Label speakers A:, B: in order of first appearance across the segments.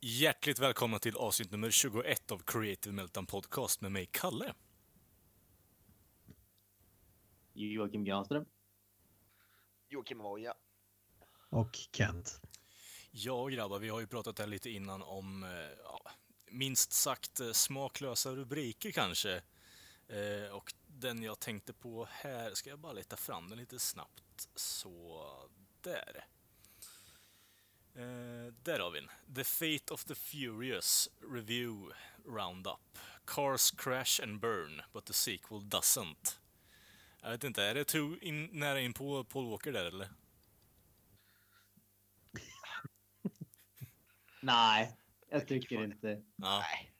A: Hjärtligt välkomna till avsnitt nummer 21 av Creative Meltdown Podcast med mig, Kalle.
B: Joakim Granström.
C: Joakim Voja.
D: och Kent.
A: Ja, grabbar, vi har ju pratat här lite innan om eh, ja, minst sagt eh, smaklösa rubriker kanske. Eh, och den jag tänkte på här, ska jag bara leta fram den lite snabbt. Så där. Eh, där har vi den. The Fate of the Furious Review Roundup. Cars crash and burn, but the sequel doesn't. Jag vet inte, är det too in, nära in på Paul Walker där eller?
B: Nej, jag tycker inte.
A: Ja.
C: Nej.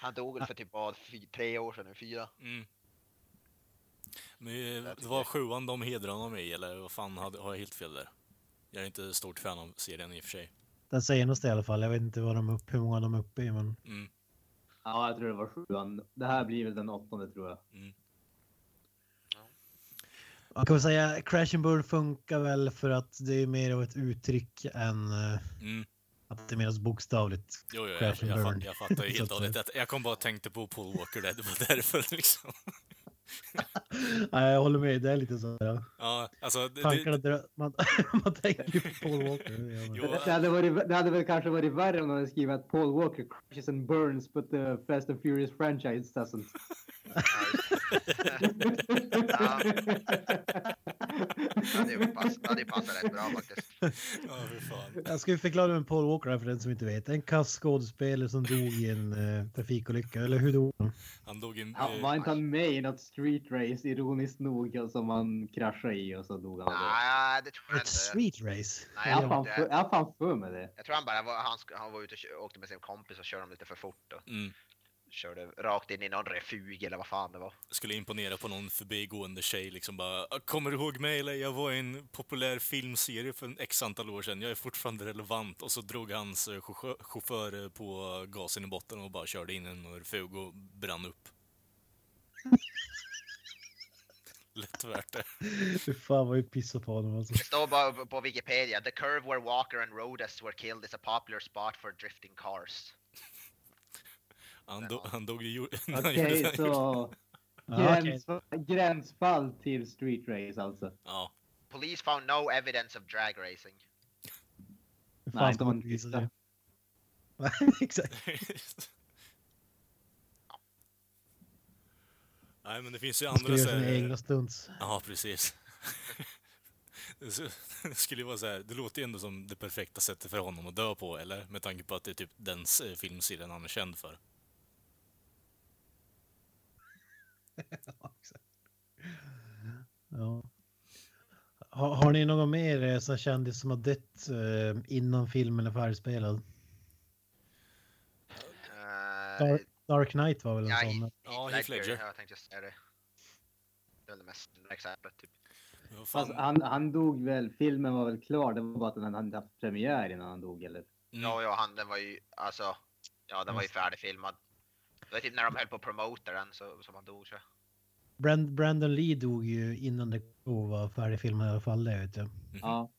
C: Han dog väl för typ vad, fy, tre år sedan nu? Fyra?
A: Mm. Men eh,
C: Jag
A: det var
C: tycker-
A: sjuan de hedrade honom i, eller vad fan, hade- har jag helt fel där? Jag är inte stort fan av serien i och för sig.
D: Den säger något i alla fall. Jag vet inte vad de upp, hur många de är uppe i, men
A: Mm.
B: Ja, jag tror det var sjuan. Det här blir väl den åttonde tror jag.
D: man kan väl säga Crash and Burn funkar väl för att det är mer av ett uttryck än eh,
A: Mm.
D: att det är mer så bokstavligt.
A: Jo, jo, jag, jag,
D: Crash and
A: fat-
D: burn.
A: jag fattar ju helt
D: Så
A: och
D: att-
A: hållet. att- Jag kom bara och tänkte på Paul Walker där, det var därför liksom.
D: Nej, jag håller med. Det är lite så. Ja.
A: Ja, alltså, det,
D: Tankarna
A: det,
D: drar... Man, man tänker ju på Paul Walker. det gör man.
A: Jo.
B: Det, det, hade varit, det hade väl kanske varit värre om de hade skrivit att Paul Walker crashes and burns but the Fast and Furious franchise doesn't.
C: Ja. Ja, det pass- ja, det passar rätt bra faktiskt.
A: ja, för fan.
D: Jag ska ju förklara vem Paul Walker är för den som inte vet. En kass skådespelare som dog i en eh, trafikolycka. Eller hur dog han?
A: Han dog i en...
B: Han
A: eh,
B: var inte han med i något street race ironiskt nog och som han kraschade i och så dog han. av det.
C: Nej, det tror jag
D: Ett
C: inte.
D: street race.
B: Jag
C: Nej, jag,
B: har
C: tror
B: fan
C: inte
B: för-
C: det.
B: jag har fan för mig det.
C: jag tror han bara var, han, sk- han var ute och kö- åkte med sin kompis och körde dem lite för fort och
A: Mm,
C: körde rakt in i någon refug eller vad fan det var.
A: skulle imponera på någon förbigående tjej liksom bara Kommer du ihåg mig eller? Jag var i en populär filmserie för en x antal år sedan. Jag är fortfarande relevant. Och så drog hans eh, chauffö- chaufför eh, på gasen i botten och bara körde in en refug och brann upp. Lätt värt det.
D: Fy fan vad vi pissar på honom alltså.
C: Det står bara på- på Wikipedia. The curve where Walker and Rodas were killed is a popular spot for drifting cars.
A: Han, do- han dog i jord- när han gjorde
B: Okej,
A: det.
B: så
D: Ja, okej.
B: gräns, gränsfall till street race alltså.
A: Ja.
C: Police found no evidence of drag racing.
D: Fy
B: Nej,
D: fan
B: inte om man
D: ska visa
B: tittar.
D: det. Exakt.
A: Nej, men det finns ju
D: Han skulle
A: andra
D: göra
A: så
D: sina
A: här-
D: egna stunts.
A: Ja, precis. Det så- det skulle ju vara så här, det låter ju ändå som det perfekta sättet för honom att dö på, eller? Med tanke på att det är typ den s- filmserien han är känd för.
D: Ja. Har, har ni någon mer eh, sån här kändis som har dött eh, innan filmen är färdigspelad?
C: Eh,
D: Dark, Dark Knight var väl en
C: Ja,
D: sån?
A: Ja,
C: Heath
A: Heath
C: Ledger.
A: Ledger.
C: Ja, Jag tänkte säga det. Det är det mest exemplet. Typ.
A: Vad fan?
B: Fast Alltså, han, han dog väl, filmen var väl klar, det var bara att han hade inte haft premiär innan han dog eller?
A: Mm.
C: Ja, ja, han, den var ju, alltså, ja, den var ju färdigfilmad. Det var typ när de höll på att promota den så, som han dog tror jag.
D: Brand, Brandon Lee dog ju innan det var färdigfilmad i alla fall, det vet jag.
B: Ja.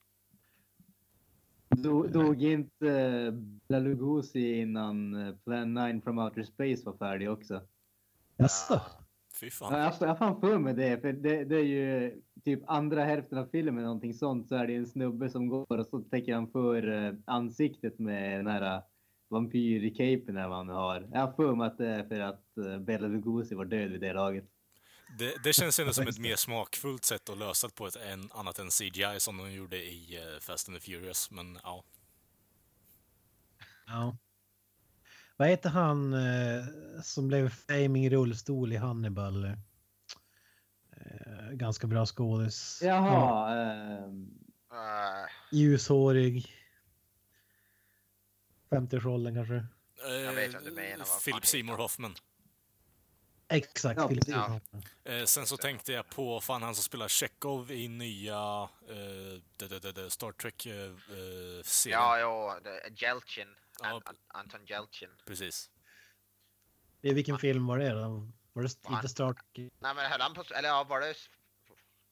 B: Do, dog inte eh, Bela Lugosi innan eh, Plan 9 from Outer Space var färdig också?
D: Jaså?
C: Ja.
A: Fy
B: Ja,
A: fan.
B: Jag jag har fan för mig det, för det, det är ju typ andra hälften av filmen någonting sånt så är det en snubbe som går och så täcker han för eh, ansiktet med den här eh, vampyrcapen eller vad han nu har. Jag har för mig att det är för att eh, Bela Lugosi var död vid det laget.
A: Det, det känns ändå som ett mer smakfullt sätt att lösa det på, ett, än, annat än CGI som de gjorde i eh, Fast and the Furious, men ja.
D: Ja. Vad heter han eh, som blev fame i rullstol i Hannibal? Eh, ganska bra skådis.
B: Jaha, eh,
C: Eh,
D: Ljushårig. 50-årsåldern kanske.
A: Jag
C: vet vad du menar, vad fan
A: Eh, Philip
C: heter
A: Seymour
C: han?
A: Hoffman.
D: Exakt.
B: Ja,
D: Philip
B: precis.
D: Seymour.
A: Eh, sen så tänkte jag på fan han som spelar Chekhov i nya eh, d- d- d- d- Star eh, Trek-serien.
C: ja, ja, det- Jeltsin.
A: Ja.
C: An, An, Anton Jeltsin.
A: Precis.
D: Det är vilken film var det då? Var det
C: Fan.
D: inte Star Trek?
C: Nej men höll han på, eller ja, var det, var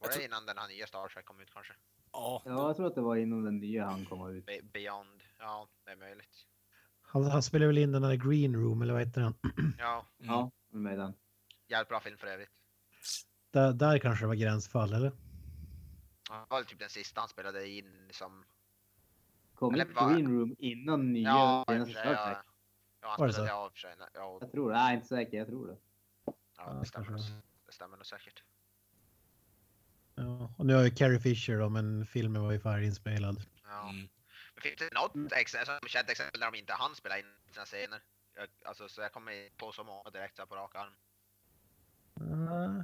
A: Jag
C: det
A: tror-
C: innan den här nya Star Trek kom ut kanske?
A: Ja,
B: Ja, jag tror att det var inom den nya han kom ut.
C: Be- Beyond, ja det är möjligt.
D: Han, han spelar väl in den där Green Room eller vad heter den?
C: Ja,
A: Mm.
B: Ja, med den.
C: jävligt bra film för övrigt.
D: Där, där kanske det var gränsfall eller?
C: Det var typ den sista han spelade in som...
B: Kom
C: Eller
B: ut
C: vad-
B: Green Room innan nya
C: Ja, i och
B: senaste
C: för sig,
B: Star Trek.
C: ja. Ja, alltså,
D: Var
C: han
D: det
C: spelade
D: så?
C: ja, i och för sig. nej, Ja,
B: Jag tror det. Nej, jag är inte säker. Jag tror det.
C: ja,
D: Ja,
C: det, stämmer nog,
D: kanske.
C: det stämmer nog säkert.
D: Ja. Och nu har ju Carrie Fisher då, men filmen var ju förinspelad.
C: Ja.
A: Mm.
C: Men finns det något ex- som känt exempel där de inte hann spela in sina scener? Jag, alltså, så jag kommer på så många direkt så här på rak arm.
D: Ah.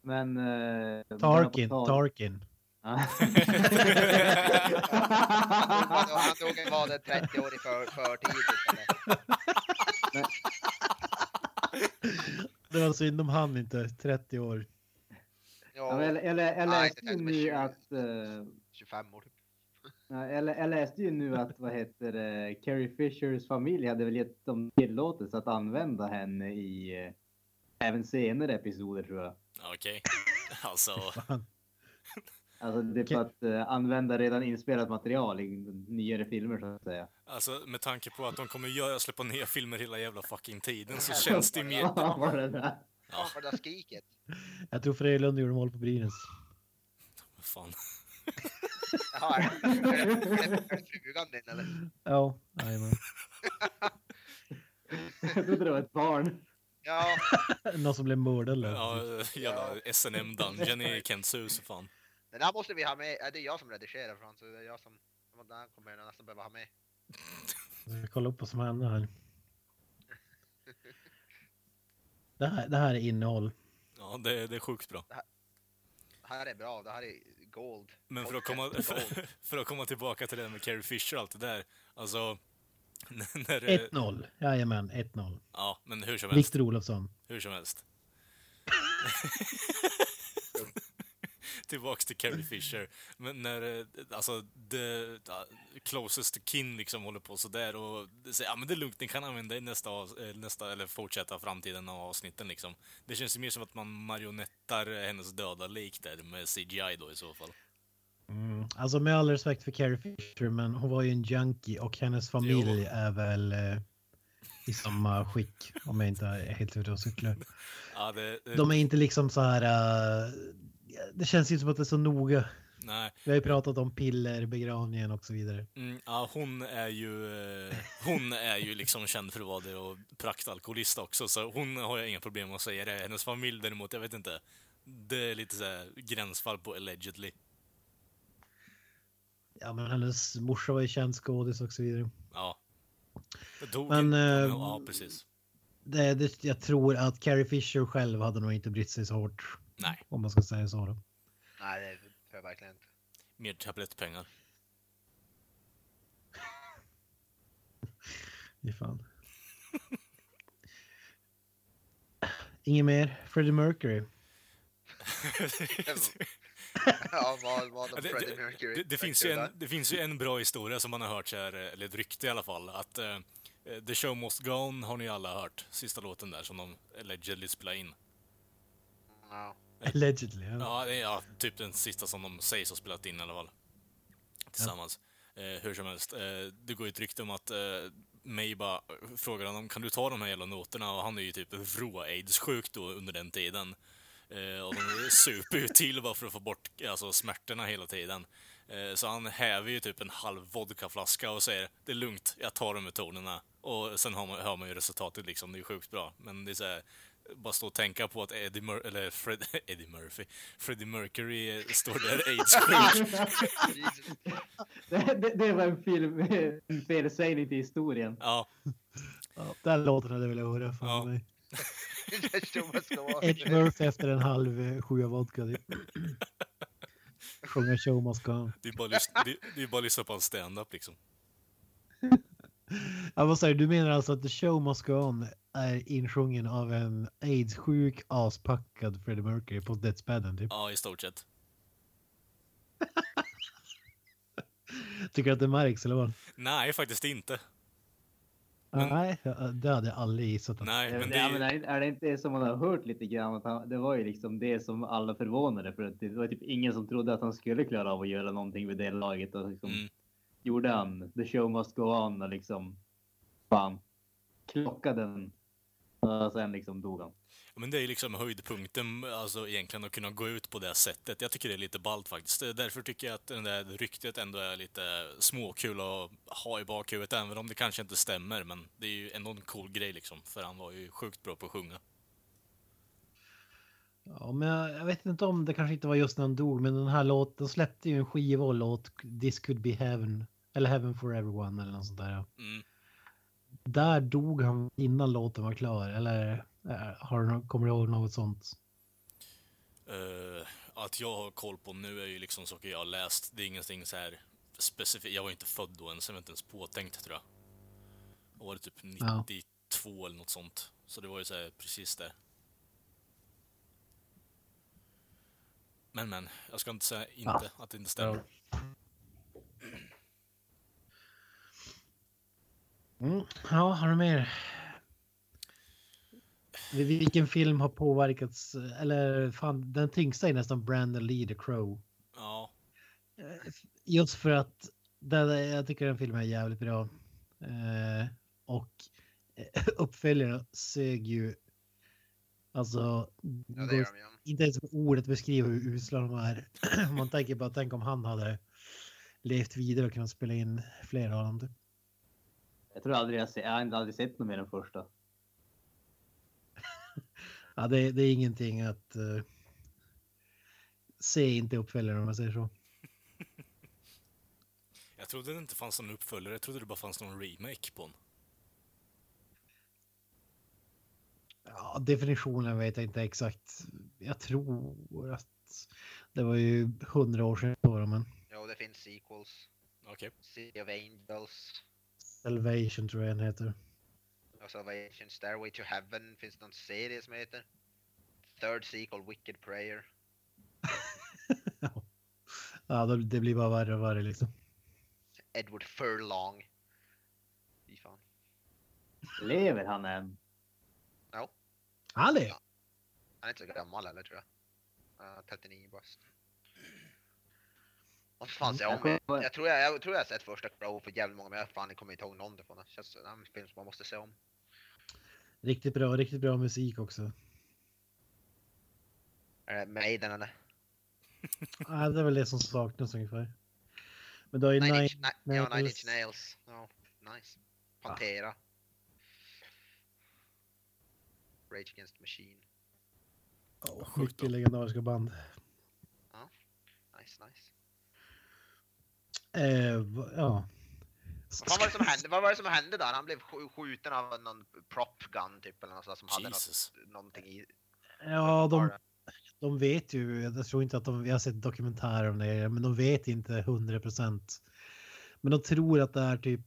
B: Men... Eh,
D: Tarkin,
B: bara på tal-
D: Tarkin.
B: Ja.
C: Han dog en vader 30 år i för, för tidigt. eller?
D: Det var synd om han inte 30 år.
B: Ja, men
C: Ja,
B: jag- jag lä- jag
C: Nej,
B: läste
C: det
B: ju
C: kanske var
B: nu
C: 20.
B: att... eh,
C: 25 år.
B: ja, Jag lä- jag läste ju nu att vad heter det, Carrie Fishers familj hade väl gett dem tillåtelse att använda henne i eh, även senare episoder tror jag.
A: Okej. Alltså,
D: Fan.
B: Alltså det är för
D: Okej.
B: att eh, använda redan inspelat material i nyare filmer så att säga.
A: alltså, med tanke på att de kommer göra släppa nya filmer hela jävla fucking tiden så känns det ju mer...
B: Ja, var det där?
C: Fan vad det där skriket.
D: Jag tror Frölunda gjorde mål på Brynäs.
A: Fan.
C: Jaha, är det- är det- är det frugan din eller?
D: Ja, jajamän.
B: Jag trodde det var ett barn.
C: Ja,
D: Någon som blev mördad eller?
A: Ja, jävla SNM Dungeon i Kents hus och fan.
C: den här måste vi ha med. Ja, Det är jag som redigerar från så det är jag som... Den här kommer jag nästan behöva ha med.
D: Jag ska kolla upp vad som hände här. Det här, det här är innehåll.
A: Ja, det, det är sjukt bra.
C: Det här är bra, det här är gold.
A: Men för att, komma, för, för att komma tillbaka till det med Carrie Fisher och allt det där. Alltså, när, när, det-
D: 1-0. Jajamän, 1-0.
A: ja, men hur som helst.
D: Viktor Olofsson.
A: Hur som helst. Tillbaks till Carrie Fisher. Men när eh, alltså the ja, closest to kin liksom håller på sådär och säger ja men det är lugnt, ni kan använda i nästa, avs- eh, nästa eller fortsätta framtiden av avsnitten liksom. Det känns ju mer som att man marionettar hennes döda lik där med CGI då i så fall.
D: Mm. Alltså med all respekt för Carrie Fisher, men hon var ju en junkie och hennes familj
A: Jo.
D: är väl eh, i samma skick om jag inte är helt ute och cyklar.
A: Ja, det, eh, det,
D: De är inte liksom så här. eh, det känns ju som att det är så noga.
A: nej.
D: Vi har ju pratat om piller, begravningen och så vidare.
A: Mm, ja, hon är ju eh, Hon är ju liksom känd för att vara det och praktalkoholist också, så hon har jag inga problem med att säga det. Hennes familj däremot, jag vet inte. Det är lite så här gränsfall på allegedly.
D: Ja, men hennes morsa var ju känd skådis och så vidare.
A: Ja. Jag dog
D: Men,
A: inte.
D: eh,
A: ja, precis.
D: Det, det, jag tror att Carrie Fisher själv hade nog inte brytt sig så hårt
A: Nej,
D: om man ska säga så. Då.
C: Nej, det tror jag verkligen inte.
A: mer tablettpengar.
D: Fy fan. Inget mer? Freddie Mercury.
C: Ja, vad, vad
A: Ja,
C: om
A: det,
C: Freddie
A: det,
C: Mercury?
A: det, det, finns ju en, det finns ju en bra historia som man har hört så här, eh, eller ett rykte i alla fall, att eh, The Show Must Go On har ni alla hört, sista låten där som de allegedly spelade in.
C: Ja.
D: Allegedly. Ja.
A: Ja, det är ja, typ den sista som de sägs ha spelat in i alla fall. Tillsammans. Eh, hur som helst, eh, det går ju ett rykte om att eh, May bara frågar honom kan du ta de här jävla noterna och han är ju typ vrå-aids-sjuk då under den tiden. Eh, och de super ju till bara för att få bort alltså, smärtorna hela tiden. Eh, så han häver ju typ en halv vodkaflaska och säger det är lugnt, jag tar de här tonerna. Och sen har man, hör man ju resultatet liksom, det är ju sjukt bra. Men det är så här, bara stå och tänka på att Eddie, Mur- eller Fred- Eddie Murphy, Freddie Mercury eh, står där aids-sjuk.
C: Jesus.
B: Det, det, det var en, film, en felsägning till historien.
A: Ja,
D: Ja, den låten hade jag velat höra. Fan
A: Ja.
D: mig.
C: Det tror jag ska vara.
D: Eddie Murphy efter en halv eh, sjua vodka. det- Sjunga typ. show must go on.
A: Det är bara att lyssna- det- det är bara att lyssna på en stand-up liksom.
D: Ja, vad säger du? Du menar alltså att The Show Must Go On är insjungen av en AIDS-sjuk, aspackad Freddie Mercury på dödsbädden typ?
A: Ja, i stort sett.
D: Tycker du att det märks eller vad?
A: Nej, faktiskt inte. Men-
D: Nej, det hade jag aldrig gissat. att-
A: Nej, men det
B: Eh, ja,
A: är
B: men
A: ju...
B: är, är det inte som man har hört lite grann? Att han, det var ju liksom det som alla förvånade för att det var typ ingen som trodde att han skulle klara av att göra någonting vid det laget och liksom
A: Mm.
B: gjorde han the show must go on och liksom fan klockade den. Och sen liksom dog han.
A: Men det är ju liksom höjdpunkten, alltså egentligen att kunna gå ut på det sättet. Jag tycker det är lite ballt faktiskt. Eh, Därför tycker jag att det där ryktet ändå är lite småkul att ha i bakhuvudet, även om det kanske inte stämmer. Men det är ju ändå en cool grej liksom, för han var ju sjukt bra på att sjunga.
D: Ja, men jag, jag vet inte om det kanske inte var just när han dog, men den här låten de släppte ju en skiva och låt This could be heaven eller Heaven for everyone eller något sånt där. ja.
A: Mm.
D: Där dog han innan låten var klar eller eh, har du, nå- kommer du ihåg något sånt?
A: Eh, att jag har koll på nu är ju liksom saker jag har läst. Det är ingenting så här specifikt. Jag var ju inte född då ens, jag var inte ens påtänkt tror jag. Jag var typ 92 eller något sånt. Så det var ju så här precis där. Men men, jag ska inte säga inte att det inte stämmer.
D: Mm. Ja, har du mer? Vil- Vilken film har påverkats? Eller fan, den tyngsta är nästan Brandon Lee, The Crow. Eh,
A: Ja,
D: Just för att den, jag tycker den filmen är jävligt bra. Eh, och eh, uppföljaren sög ju. Alltså,
C: Ja, det
D: går
C: gör de ju.
D: inte ens med ordet beskriva hur usla de är. Om Man tänker bara, tänk om han hade levt vidare och kunnat spela in flera av dem. typ.
B: Jag tror aldrig jag, se, jag har inte aldrig sett något mer än första.
D: Ja, det, det är ingenting att eh, se inte uppföljaren om man säger så.
A: jag trodde det inte fanns någon uppföljare. Jag trodde det bara fanns någon remake på den.
D: Ja, definitionen vet jag inte exakt. Jag tror att det var ju hundra år sedan. då, Men
C: Jo, det finns sequels.
A: Okej.
C: Sea of Angels.
D: Salvation tror jag den heter.
C: Och Salvation Stairway to Heaven. Finns det någon serie som heter? Third sequel, Wicked Prayer.
D: Ja, det, det blir bara värre och värre liksom.
C: Edward Furlong. Fy fan.
B: Lever han än?
D: Ali!
C: Han är inte så gammal heller tror jag. Ja, 39 bast. Vad fan ser jag om?
B: Mm, jag kommer-
C: Jag tror jag, jag tror jag har sett första Crow för jävligt många men jag fan kommer inte ihåg någon därifrån. Det känns som det är en film som man måste se om.
D: Riktigt bra, riktigt bra musik också.
C: Är det Maiden eller?
D: Ja, det är väl det som saknas ungefär. Men då är
C: Nine
D: Nine...
C: Inch, Ni- ja, Nine
D: Nails.
C: Inch Nails. Ja, nice. Pantera. Rage Against the Machine.
D: Oh,
A: Sjukt då.
D: mycket legendariska band.
C: Nice, nice.
D: Eh, va- ja.
C: Vad var det som hände, vad var det som hände där? Han blev sk- skjuten av någon prop gun typ eller något sånt som hade något,
A: Jesus.
C: någonting i.
D: Ja, de, de vet ju, jag tror inte att de, jag har sett dokumentärer om det, men de vet inte 100 procent. Men de tror att det är typ,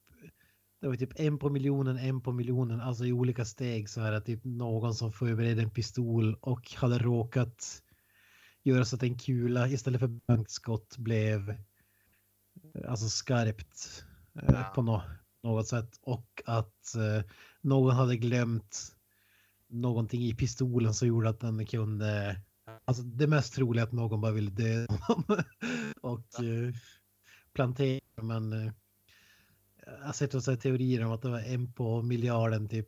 D: det var typ en på miljonen, en på miljonen, alltså i olika steg så är det typ någon som förberedde en pistol och hade råkat göra så att en kula istället för bankskott blev eh, alltså skarpt eh,
C: Ja.
D: på nå- något sätt och att eh, någon hade glömt någonting i pistolen som gjorde att den kunde... Alltså det mest troliga är att någon bara ville döda honom och eh, plantera men eh, jag har sett också teorier om att det var en på miljarden typ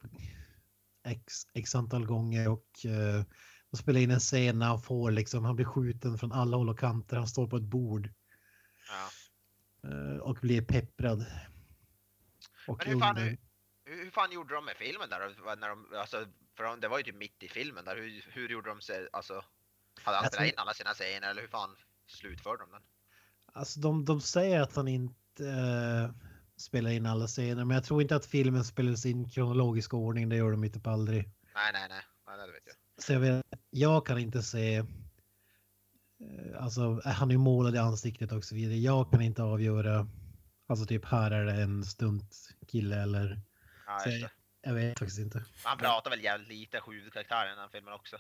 D: x, x antal gånger och eh, de spelar in en scen när han får liksom, han blir skjuten från alla håll och kanter, han står på ett bord
C: Ja.
D: eh, och blir pepprad. Och
C: Men hur fan-
D: under-
C: Hur, hur fan gjorde de med filmen där? Vad- När de, alltså, för de, det var ju typ mitt i filmen där. Hur, hur gjorde de sig, alltså? Hade han
D: Jag tror-
C: spelat in alla sina scener eller hur fan slutförde de den?
D: Alltså de, de säger att han inte eh, spelar in alla scener, men jag tror inte att filmen spelas in i kronologisk ordning. Det gör de ju typ aldrig.
C: Nej, nej, nej. nej det vet jag.
D: Så jag, vet, jag kan inte se eh, Alltså han är ju målad i ansiktet och så vidare. Jag kan inte avgöra. Alltså typ här är det en stunt kille eller.
C: Ja,
D: Så
C: just
D: jag,
C: det.
D: jag vet faktiskt inte.
C: Han pratar väl jävligt lite, huvudkaraktären i den här filmen också.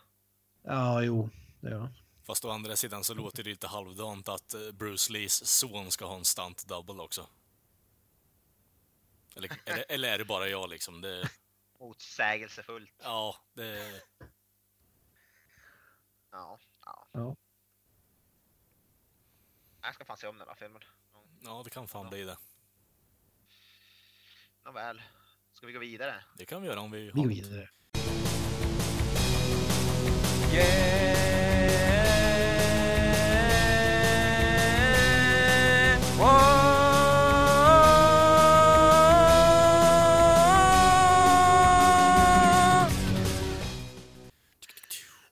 D: Ja, jo. Det gör han.
A: Fast å andra sidan så låter det lite halvdant att eh, Bruce Lees son ska ha en stunt double också. Eller, eller, eller är det bara jag liksom? Det,
C: Motsägelsefullt.
A: ja, det,
C: Ja, ja.
D: Ja.
C: Jag ska fan se om den här filmen.
A: ja, det kan fan bli det.
C: Nåväl. Ska vi gå vidare?
A: Det kan vi göra om vi
D: Vi
A: har
D: går
A: lite.
D: vidare.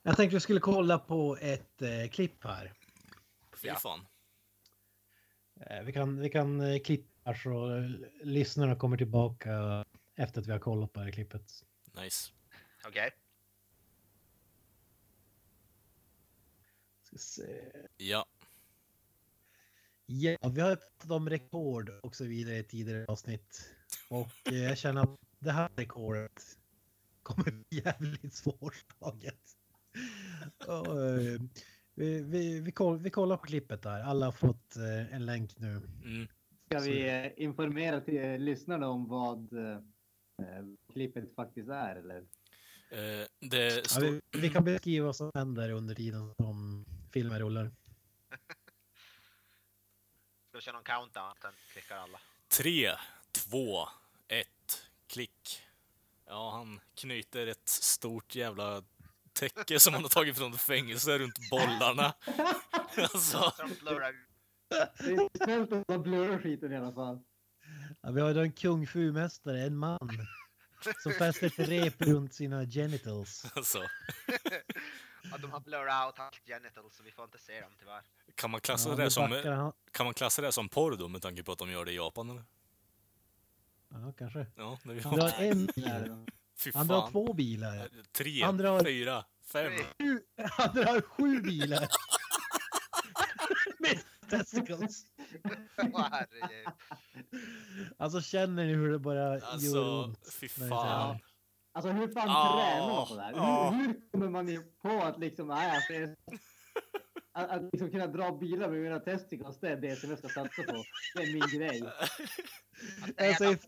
D: Jag tänkte vi skulle kolla på ett eh, klipp här.
A: Fy
C: Ja.
A: fan.
D: Eh, Vi kan, vi kan eh, klippa så eh, lyssnarna kommer tillbaka efter att vi har kollat på det här klippet.
A: Nice.
C: Okej.
D: Ska se.
A: Ja,
D: Ja, vi har ju pratat om rekord och så vidare i tidigare avsnitt. Och eh, jag känner att det här rekordet kommer bli jävligt svårslaget. Och, eh, vi, vi, vi, koll, vi kollar på klippet där. Alla har fått eh, en länk nu.
A: mm.
B: Ska vi eh, informera till eh, lyssnarna om vad eh, eh, klippet faktiskt är? Eller?
A: Eh, det
D: Ja,
A: står...
D: vi, vi kan beskriva vad som händer under tiden som filmen rullar.
C: Ska vi köra någon countdown? Sen klickar alla.
A: Tre, två, ett, klick. Ja, han knyter ett stort jävla täcke som han har tagit från ett fängelse runt bollarna. Alltså,
C: Så de blurrar ut.
B: Det är inte snällt att man blurrar skiten i alla fall.
D: Ja, vi har ju en kung fu-mästare, en man, som fäster ett rep runt sina genitals.
A: alltså.
C: Ja, de har blurrat out hans genitals så vi får inte se dem tyvärr.
A: Kan man, klassa
D: Ja,
A: Alltså, det som,
D: nu backar han.
A: kan man klassa det som porr då med tanke på att de gör det i Japan eller?
D: Ja, kanske.
A: Ja, när vi
D: Han drar
A: har...
D: en
B: Där är
D: bil.
B: de.
A: Fy
D: Han drar
A: fan.
D: två bilar.
A: Tre,
D: han drar-
A: fyra, fem.
C: Tre.
D: Sju- Han drar sju bilar. Med testicles.
C: Åh, Herregud.
D: Alltså känner ni hur det bara gör
A: Alltså,
D: ont?
A: fy
D: när ni ser det här?
A: fan.
B: Alltså hur fan
A: Ah,
B: tränar man på det här?
A: ah.
B: Hur, hur kommer man ju på att liksom, nej, alltså, det är- att, att liksom kunna dra bilar med mina testicles, det är det som jag ska satsa på. Det är min grej.
C: Att säga att
D: Jag
C: han-
D: säger,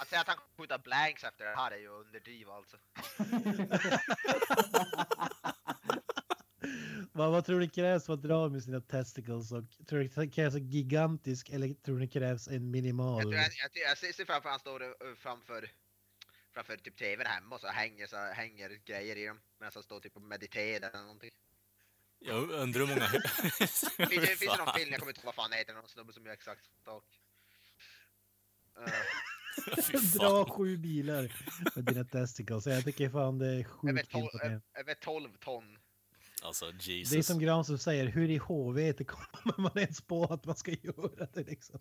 C: Att säga att han kommer skjuta blanks efter det här är ju underdriv alltså.
D: vad, vad tror ni krävs för att dra med sina testicles? Och, tror ni det krävs en gigantisk eller tror ni det krävs en
C: Jag,
D: minimal?
C: tror, jag, jag, tror- jag ser ser framför han står eh, framför, framför typ tvn hemma och så hänger, så hänger grejer i dem medan han står typ och mediterar eller någonting.
A: Jag undrar hur många...
C: Finns det, finns det någon
A: Fan.
C: film, jag kommer inte ihåg vad fan det heter, någon snubbe som gör exakt samma sak. Eh,
A: Fy
D: Dra
A: fan.
D: sju bilar med dina testicles. Jag tycker fan det är
C: över,
D: sjukt
C: tol-
D: imponerande.
C: ö- över 12 ton.
A: Alltså,
D: Det är
A: Jesus.
D: som Granström säger, hur i HVT kommer man ens på att man ska göra det liksom?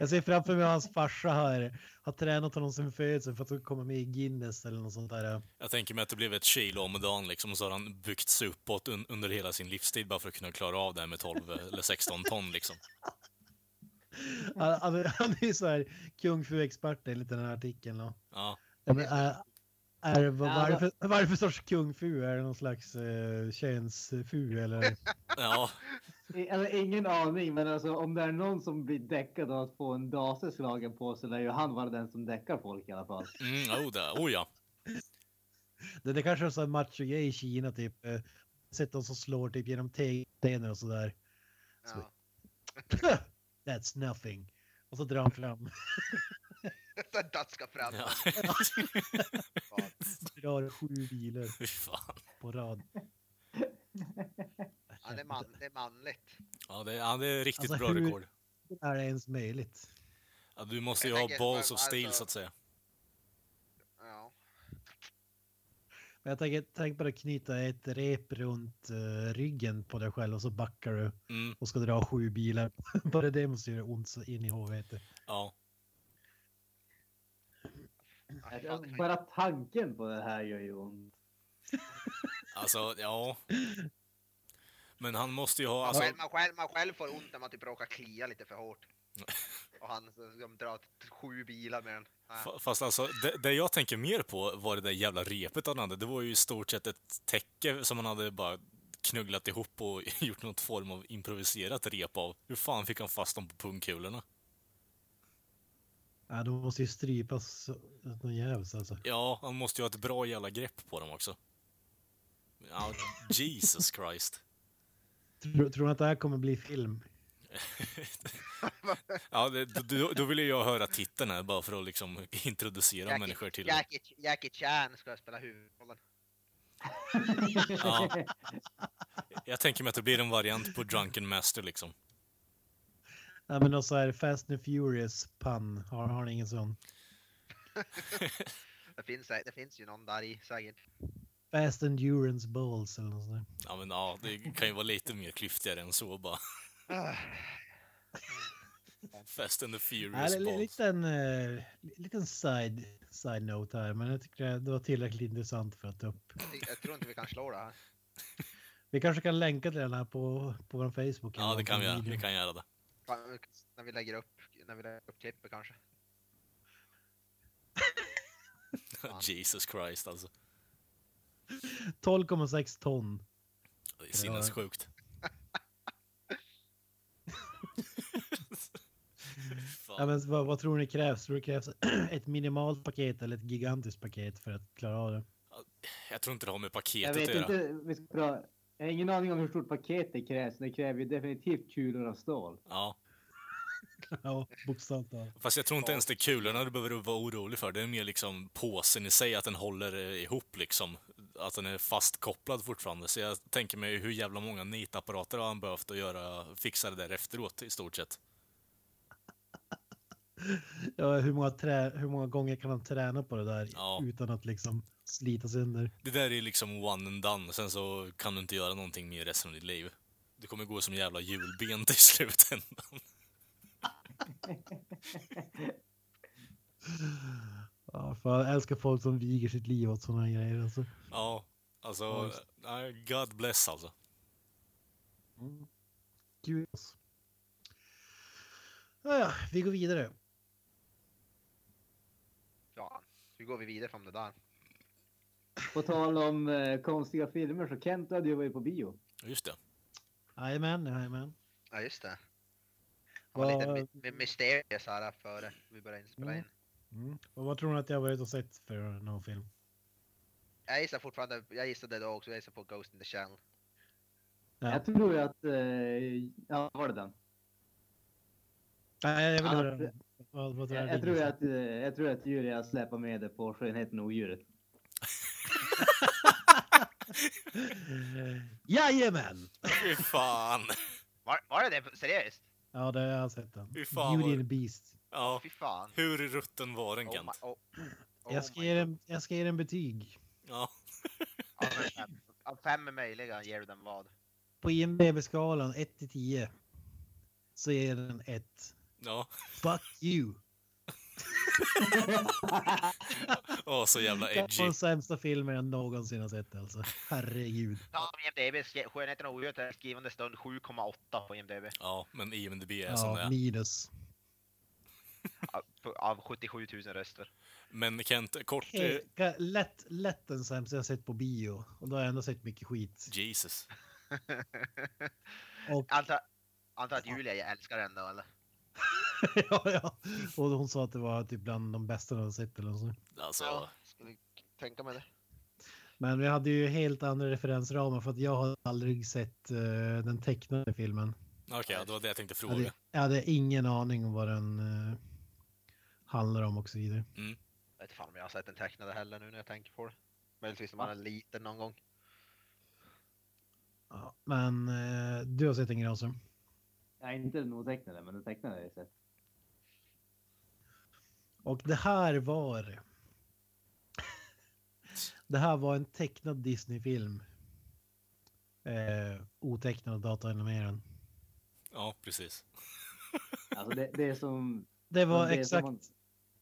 D: Jag ser framför mig hur hans farsa här har tränat honom sen födseln för att komma med i Guinness eller något sånt där.
A: Jag tänker mig att det blev ett kilo om dagen liksom, och så har han byggts uppåt un under hela sin livstid bara för att kunna klara av det här med 12 eller 16 ton liksom.
D: Han, han, han är ju så här kung fu-expert enligt den här artikeln. Då.
A: Ja,
D: Ja, men Är, är, vad,
B: Ja,
D: vad är det för- vad är det för sorts kung fu? Är det någon slags eh, könsfu eller?
A: ja,
B: I- Alltså, ingen aning, men alltså, om det är någon som blir däckad av att få en dase slagen på sig lär ju han vara den som däckar folk i alla fall.
A: mm, oh, det, oh ja.
D: Det, det kanske är en sån här machogrej i Kina typ. eh, Sett de som slår typ genom tegelstenar och sådär.
C: Ja.
D: That's nothing. Och så drar han fram,
C: Den daskar fram.
A: ja.
C: Fan.
D: drar sju bilar
A: Fy fan.
D: på rad.
C: Ja, det, är man, det är manligt.
A: Ja, det, ja, det är riktigt
D: Alltså,
A: bra
D: hur-
A: rekord.
D: Hur är det ens möjligt?
A: Ja, du måste ju
C: Jag
A: ha
C: tänker,
A: balls
C: men
A: of steel
C: alltså-
A: så att säga.
C: Ja.
D: Men jag tänker, tänk bara knyta ett rep runt eh, ryggen på dig själv och så backar du
A: Mm,
D: och ska dra sju bilar. bara det måste göra ont så in i helvete.
A: ja.
C: Ja,
B: Alltså,
C: fan, det kan-
B: Bara tanken på det här gör ju ont.
A: Alltså, ja. Men han måste ju ha...
C: Man,
A: Alltså,
C: själv, man, själv, man själv får ont när man typ råkar klia lite för hårt. Och han så- de drar t- sju bilar med den. Ja.
A: fa- fast alltså, det, det jag tänker mer på var det där jävla repet han hade. Det var ju i stort sett ett täcke som han hade bara knugglat ihop och gjort något form av improviserat rep av. Hur fan fick han fast dem på pungkulorna?
D: Ja, de måste ju strypas åt någon jävels alltså.
A: Ja, han måste ju ha ett bra jävla grepp på dem också. Ja, Jesus Christ.
D: Tror, tror du att det här kommer bli film?
A: Ja, det, då, då ville jag höra titeln här bara för att liksom introducera
C: Jackie-
A: människor till det.
C: Jackie, Jackie Chan ska spela huvudrollen.
A: Ja. Jag tänker mig att det blir en variant på Drunken Master liksom.
D: Ja, men också här Fast and Furious pann. Har, har ni ingen sån?
C: Det finns, sä- det finns ju någon där i säkert.
D: Fast Endurance Balls eller något sånt där.
A: Ja, men ja, det kan ju vara lite mer klyftigare än så bara.
C: Ah,
A: Fast and the
D: Ja,
A: Furious
D: det är en
A: Balls.
D: liten, eh, liten side, side note här, men jag tycker det- det var tillräckligt intressant för att ta upp.
C: Jag- Jag tror inte vi kan slå det här.
D: Vi kanske kan länka till den här på, på vår Facebook.
A: Ja, det kan vi göra.
D: Video.
A: Vi kan göra det.
C: Fan, När vi lägger upp, när vi lägger upp klippet kanske.
A: Jesus Christ alltså.
D: 12,6 ton.
A: Det är sinnessjukt.
D: Ja,
A: Fan.
D: men vad, vad tror ni krävs? Tror du det krävs ett minimalt paket eller ett gigantiskt paket för att klara av det?
A: Jag tror inte det har med
B: Jag
A: paketet
B: vet
A: att göra.
B: inte. Vi ska pra- jag har ingen aning om hur stort paket det krävs. men Det kräver ju definitivt kulor av stål.
A: Ja.
D: Ja, bokstavligt talat.
A: Fast jag tror inte ens det är kulorna du behöver vara orolig för. Det är mer liksom påsen i sig, att den håller eh, ihop liksom. Att den är fastkopplad fortfarande. Så jag tänker mig hur jävla många nitapparater har han behövt att göra, fixa det där efteråt i stort sett.
D: Ja, hur, många trä, hur många gånger kan han träna på det där
A: Ja.
D: utan att liksom slita sönder?
A: Det där är liksom one and done, sen så kan du inte göra någonting mer resten av ditt liv. Du kommer gå som jävla julben till slutändan.
D: Ja, för jag älskar folk som viger sitt liv åt sådana grejer. Alltså.
A: Ja, alltså, nej, God bless alltså.
D: Gud. alltså. Ja, ja, vi går vidare.
C: Ja, hur går vi vidare från det där?
B: På tal om eh, konstiga filmer så Kent hade ju varit på bio.
A: Just det.
D: Jajamän, jajamän.
C: Ja, just det. Det var lite
D: Vad-
C: my- my- mysterious här före vi började inspela
D: Mm.
C: in.
D: Mm. Och vad tror ni att jag har varit och sett för någon film?
C: Jag gissar fortfarande, jag gissade då också, jag gissar på Ghost in the Shell.
D: Ja.
B: Jag tror ju att... Eh, ja, var det den?
D: Nej, jag vill
B: Ja,
D: höra.
B: det-
D: Vad, vad tror
B: Jag,
D: jag,
B: jag, tror att, eh, jag tror att Julia släpar med det på Skönheten och odjuret.
D: Jajamän!
A: Fy fan!
C: Var, var det det? Seriöst?
D: Ja, det har jag sett den.
A: Fy fan,
D: Beauty
A: vad-
D: and the Beast.
A: Ja,
C: Fy fan.
A: hur rutten var den
C: Oh my,
A: Kent?
C: oh, oh
D: Jag ska,
C: my
D: ge
C: God.
D: den, jag ska ge den betyg.
A: Ja.
C: Av fem- Av fem möjliga ger du den vad?
D: På IMDB-skalan 1 till 10 så ger den 1.
A: Ja.
D: Fuck you!
A: Åh, så jävla
D: Det var
A: edgy.
D: den sämsta filmen jag någonsin har sett alltså. Herregud.
C: Ja, på IMDB, skri- Skönheten och odjuret är skrivande stund 7,8 på IMDB.
A: Ja, men IMDB är som det
D: Ja,
A: är.
D: minus.
C: Av- på- Av 77 000 röster.
A: Men Kent, kort... eh,
D: Helt- ga- Lätt, lätt den sämsta jag sett på bio. Och då har jag ändå sett mycket skit.
A: Jesus.
D: Och,
C: Antar antar att Julia älskar den då eller?
D: ja, ja. och hon sa att det var typ bland de bästa hon har sett eller något sånt.
A: Alltså,
C: skulle tänka mig det.
D: Men vi hade ju helt andra referensramar för att jag har aldrig sett eh, den tecknade filmen.
A: okej, det var det jag tänkte
D: Jag
A: fråga.
D: hade, jag hade ingen aning om vad den eh, handlar om och så vidare.
C: Jag vet fan om jag har sett den tecknade heller nu när jag tänker på det. Möjligtvis när man är liten någon gång.
D: Ja, men eh, du har sett den Granström?
B: Nej, inte den otecknade, men den tecknade har jag sett.
D: Och det här var... Det här var en tecknad Disney-film. Eh, otecknad och dataanimerad.
A: Ja, precis.
B: Alltså det, det är som...
D: Det
B: det
D: var
B: är som
D: exakt...
B: man-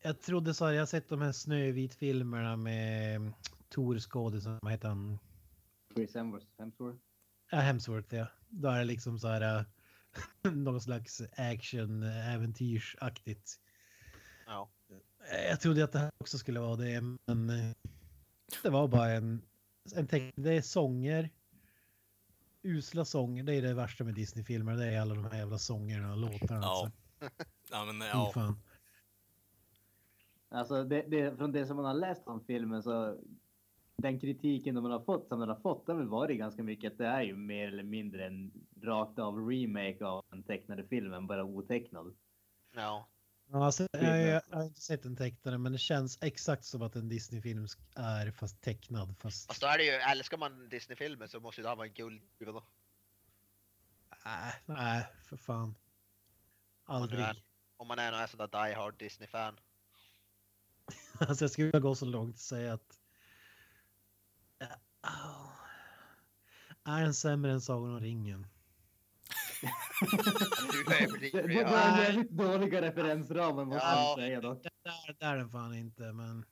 D: Jag trodde så här, jag har sett de här Snövit-filmerna med mm, Tor skådisen, vad heter han?
B: Chris Hemsworth. Hemsworth.
D: Ja, Hemsworth ja. Då är det liksom så här äh, någon slags action äh, äventyrsaktigt.
E: Ja.
D: Äh, Jag trodde att det här också skulle vara det, men äh, det var bara en, en teck- Det är sånger. Usla sånger, det är det värsta med Disney-filmer. Det är alla de här jävla sångerna och låtarna.
A: Ja.
D: Ja.
A: Ja, men,
D: Alltså. Fy
A: ja.
D: fan.
B: Alltså det, det, från det som man har läst om filmen så den kritiken de har fått som den har fått har väl varit ganska mycket att det är ju mer eller mindre en rakt av remake av den tecknade filmen, bara otecknad.
C: Ja.
D: Ja, alltså, jag, jag, jag har inte sett en tecknare, men det känns exakt som att en Disney-film sk- är fast tecknad. Fast
C: Fast då är det ju, älskar man Disney-filmer så måste ju det här vara en guldgruva då.
D: Nej, Äh, nej, för fan. Aldrig.
C: Om man Om man är någon sån där die hard Disney-fan.
D: Alltså jag skulle vilja gå så långt och säga att... Ja, au. Är den sämre än Sagan om ringen?
C: Du överdriver
B: Det, det
C: ju.
B: var en jävligt dåliga referensramar måste
C: Ja.
B: man säga dock.
D: Där, där är den fan inte, men...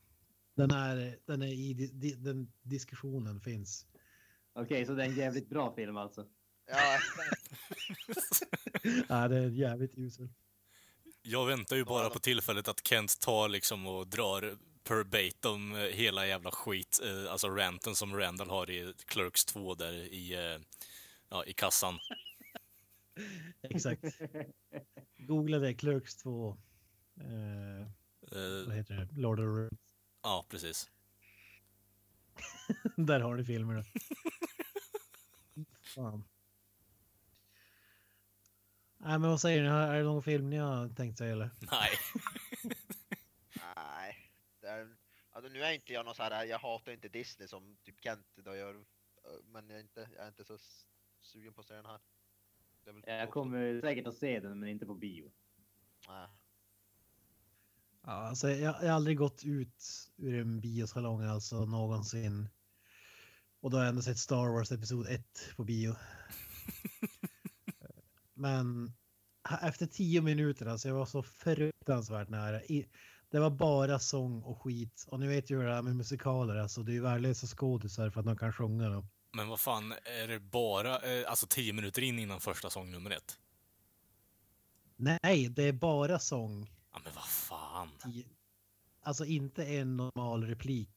D: Den är, den är i di- di- den diskussionen finns.
B: Okej, så det är en jävligt bra film alltså.
C: Ja,
D: Ja, det är jävligt usel.
A: Jag väntar ju bara på tillfället att Kent tar liksom och drar perbatum eh, hela jävla skit, eh, alltså ranten som Randall har i Clerks 2 där i, eh, ja, i kassan.
D: Exakt. Googla det, Clerks 2. Eh, vad
A: Eh,
D: heter det? Lord of the Rings.
A: ja, precis.
D: Där har du filmerna. Fan. Nej, men vad säger ni? Är det någon film ni har tänkt sig eller?
A: Nej.
C: nej. Det är, alltså, nu är inte jag någon så här, jag hatar inte Disney som typ Kent då gör. Men jag är inte, jag är inte så s- sugen på att se den här. Det är väl-
B: Jag kommer säkert att se den, men inte på bio.
C: Nej.
D: Ja, alltså, jag, jag har aldrig gått ut ur en biosalong alltså någonsin. Och då har jag ändå sett Star Wars Episod 1 på bio. Men ha- efter tio minuter alltså, jag var så fruktansvärt nära. I, det var bara sång och skit. Och ni vet ju hur det är med musikaler alltså. Det är ju värdelösa skådisar för att de kan sjunga dem.
A: Men vad fan, är det bara eh, alltså tio minuter in innan första sång nummer ett?
D: Nej, det är bara sång.
A: Ja, men vad fan.
D: I, alltså inte en normal replik.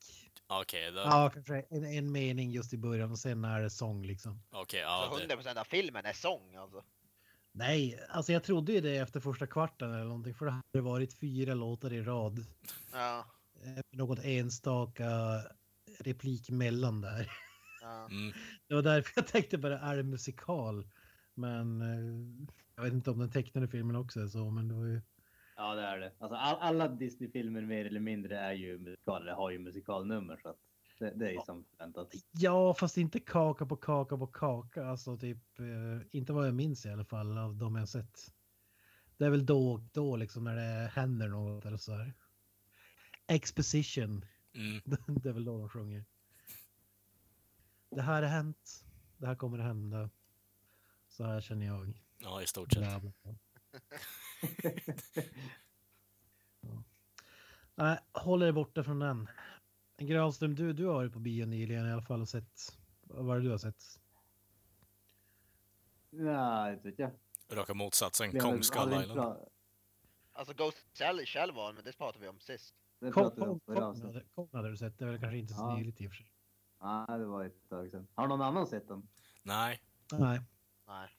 A: Ja, Okej, okay,
D: Ja, kanske en, en mening just i början och sen är det sång liksom.
A: ja,
C: Så
A: det-
C: 100% av filmen är sång alltså.
D: Nej, alltså jag trodde ju det efter första kvarten eller någonting för det hade varit fyra låtar i rad.
C: Ja,
D: Eh, med Något enstaka replik mellan där.
C: ja.
A: Mm.
D: Det var därför jag tänkte bara, är det musikal? Men eh, jag vet inte om den tecknade filmen också är så, men det var ju...
B: Ja, det är det. Alltså, all, alla Disney-filmer mer eller mindre är ju musikaler, har ju musikalnummer så att det, det är ju som förväntat.
D: Ja, fast inte kaka på kaka på kaka. Alltså typ, eh, inte vad jag minns i alla fall av de jag sett. Det är väl då och då liksom när det händer något eller så här. Exposition,
A: Mm.
D: det är väl då de sjunger. Det här har hänt, det här kommer att hända. Så här känner jag.
A: Ja, i stort sett.
D: Bla, bla, bla. Ja. Nej, håll er borta från den. Granström, du, du har varit på bio nyligen i alla fall och sett. Vad är det du har sett?
B: Ja, inte vet jag.
A: Raka motsatsen,
B: Det har väl
A: Kong Skull
B: aldrig
A: Island.
B: pra-
C: Alltså Ghost Shell själv var men det pratade vi om sist.
B: det
D: Kong
B: pratade vi om förra
D: Kong
B: avsnittet.
D: hade- Kong hade du sett, det var väl kanske inte så
B: Ja.
D: nyligt i och för sig.
B: Ja, det var ett tag sedan. Har någon annan sett den?
A: Nej.
D: Nej.
C: Nej.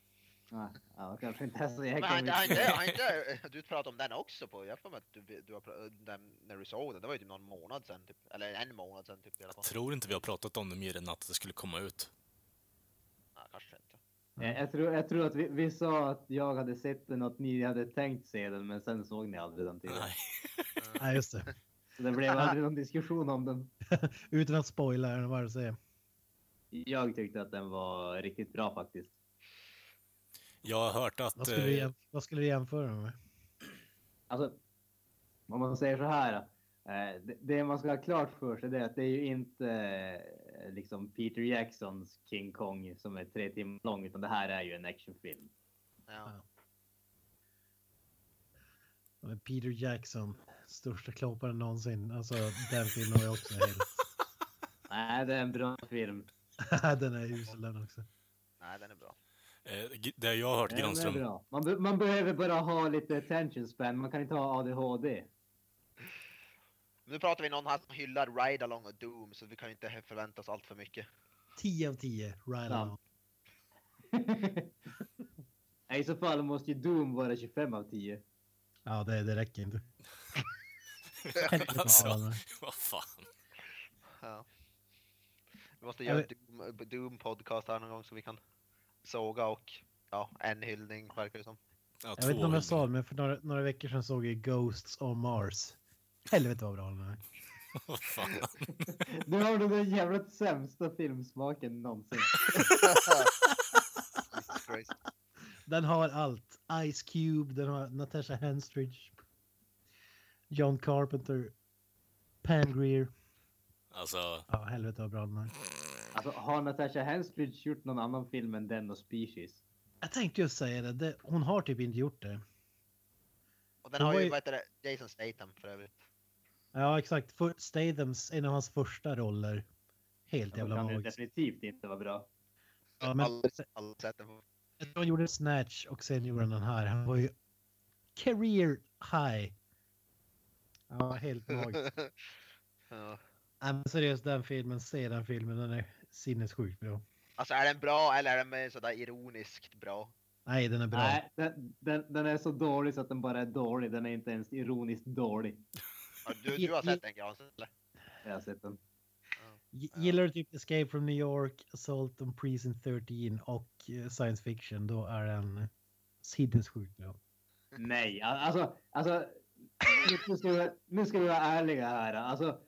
B: Nej, ja, kanske inte är så
C: Men har inte,
B: jäkla
C: har
B: mycket.
C: inte, har inte, eh, du pratade om den också på, jag har för mig att du, du har, pra- den, när du såg den, det var ju typ någon månad sen typ, eller en månad sen typ i alla fall.
A: Tror inte vi har pratat om det mer än att det skulle komma ut.
C: Nej, kanske inte.
B: Jag, Eh, jag, tror, jag tror att vi, vi sa att jag hade sett den och att ni hade tänkt se den, men sen såg ni aldrig den tidigare.
A: Nej.
D: Nej, just det.
B: Så det blev aldrig någon diskussion om den.
D: Utan att spoila, eller vad är det du säger?
B: Jag tyckte att den var riktigt bra faktiskt.
A: Jag har hört
D: Vad
A: att...
D: skulle, du,
A: eh,
D: jäm- vad skulle du jämföra den med?
B: Alltså, om man säger så här. eh, det- Det man ska ha klart för sig det är att det är ju inte eh, liksom Peter Jacksons King Kong som är tre timmar lång, utan det här är ju en actionfilm.
C: Ja.
D: Med Peter Jackson, största klåparen någonsin. Alltså, den filmen var ju också helt...
B: Nej, det är en bra film.
D: den är usel den också.
C: Nej, den är bra.
A: Eh, g- det jag har hört
B: Ja, men det är
A: Granström.
B: bra. Man, be- man behöver bara ha lite attention span. Man kan inte ha ADHD.
C: Men nu pratar vi någon här som hyllar Ride Along och Doom så vi kan ju inte he- förvänta oss allt för mycket.
D: 10 av 10, right
B: Ja.
D: on.
B: Nej, I så fall måste ju Doom vara 25 av 10.
D: Ja, det, det räcker inte.
A: alltså,
D: Ja,
A: vad fan.
C: Ja. Vi måste
D: Jag
C: göra
D: vet-
C: Doom, Doom podcast här någon gång så vi kan såga och ja, en hyllning verkar det som.
A: Ja,
D: Jag vet inte om jag sa
A: hyllningar.
D: det, men för några, några veckor sedan såg jag Ghosts on Mars. Helvete vad bra den är.
A: Vad fan.
B: Du har nog den jävla sämsta filmsmaken någonsin.
C: Jesus Christ.
D: Den har allt. Ice Cube, den har Natasha Henstridge, John Carpenter, Pam Greer.
A: Alltså,
D: Ja, helvete vad bra den är.
B: Alltså, har Natasha Henstridge gjort någon annan film än den och Species?
D: Jag tänkte just säga det, det hon har typ inte gjort det.
C: Och den
D: Det
C: har
D: var
C: ju
D: ju-
C: vad heter det, Jason Statham för övrigt.
D: Ja, exakt. För Stathams, en av hans första roller. Helt
B: Då
D: jävla
B: Alltså, kan det
D: magiskt.
B: definitivt inte vara bra.
D: Ja, men-
C: Aldrig- aldrig sett den.
D: Jag tror han gjorde Snatch och sen gjorde han den här. Han var ju career high. Ja, helt magiskt.
C: ja.
D: Nej men seriöst, den filmen, se den filmen, den är sinnessjukt bra.
C: Alltså är den bra eller är den mer sådär ironiskt bra?
D: Nej, den är bra.
B: Nej, den, den, den är så dålig så att den bara är dålig. Den är inte ens ironiskt dålig.
C: Ja, Du, du har
D: I- i-
C: sett den Granström eller?
B: Jag har sett den.
D: G- Gillar du typ Escape from New York, Assault on Prison 13 och eh, science fiction, då är den sinnessjukt bra.
B: Nej, al- alltså, alltså nu, ska vi, nu ska vi vara ärliga här. Alltså,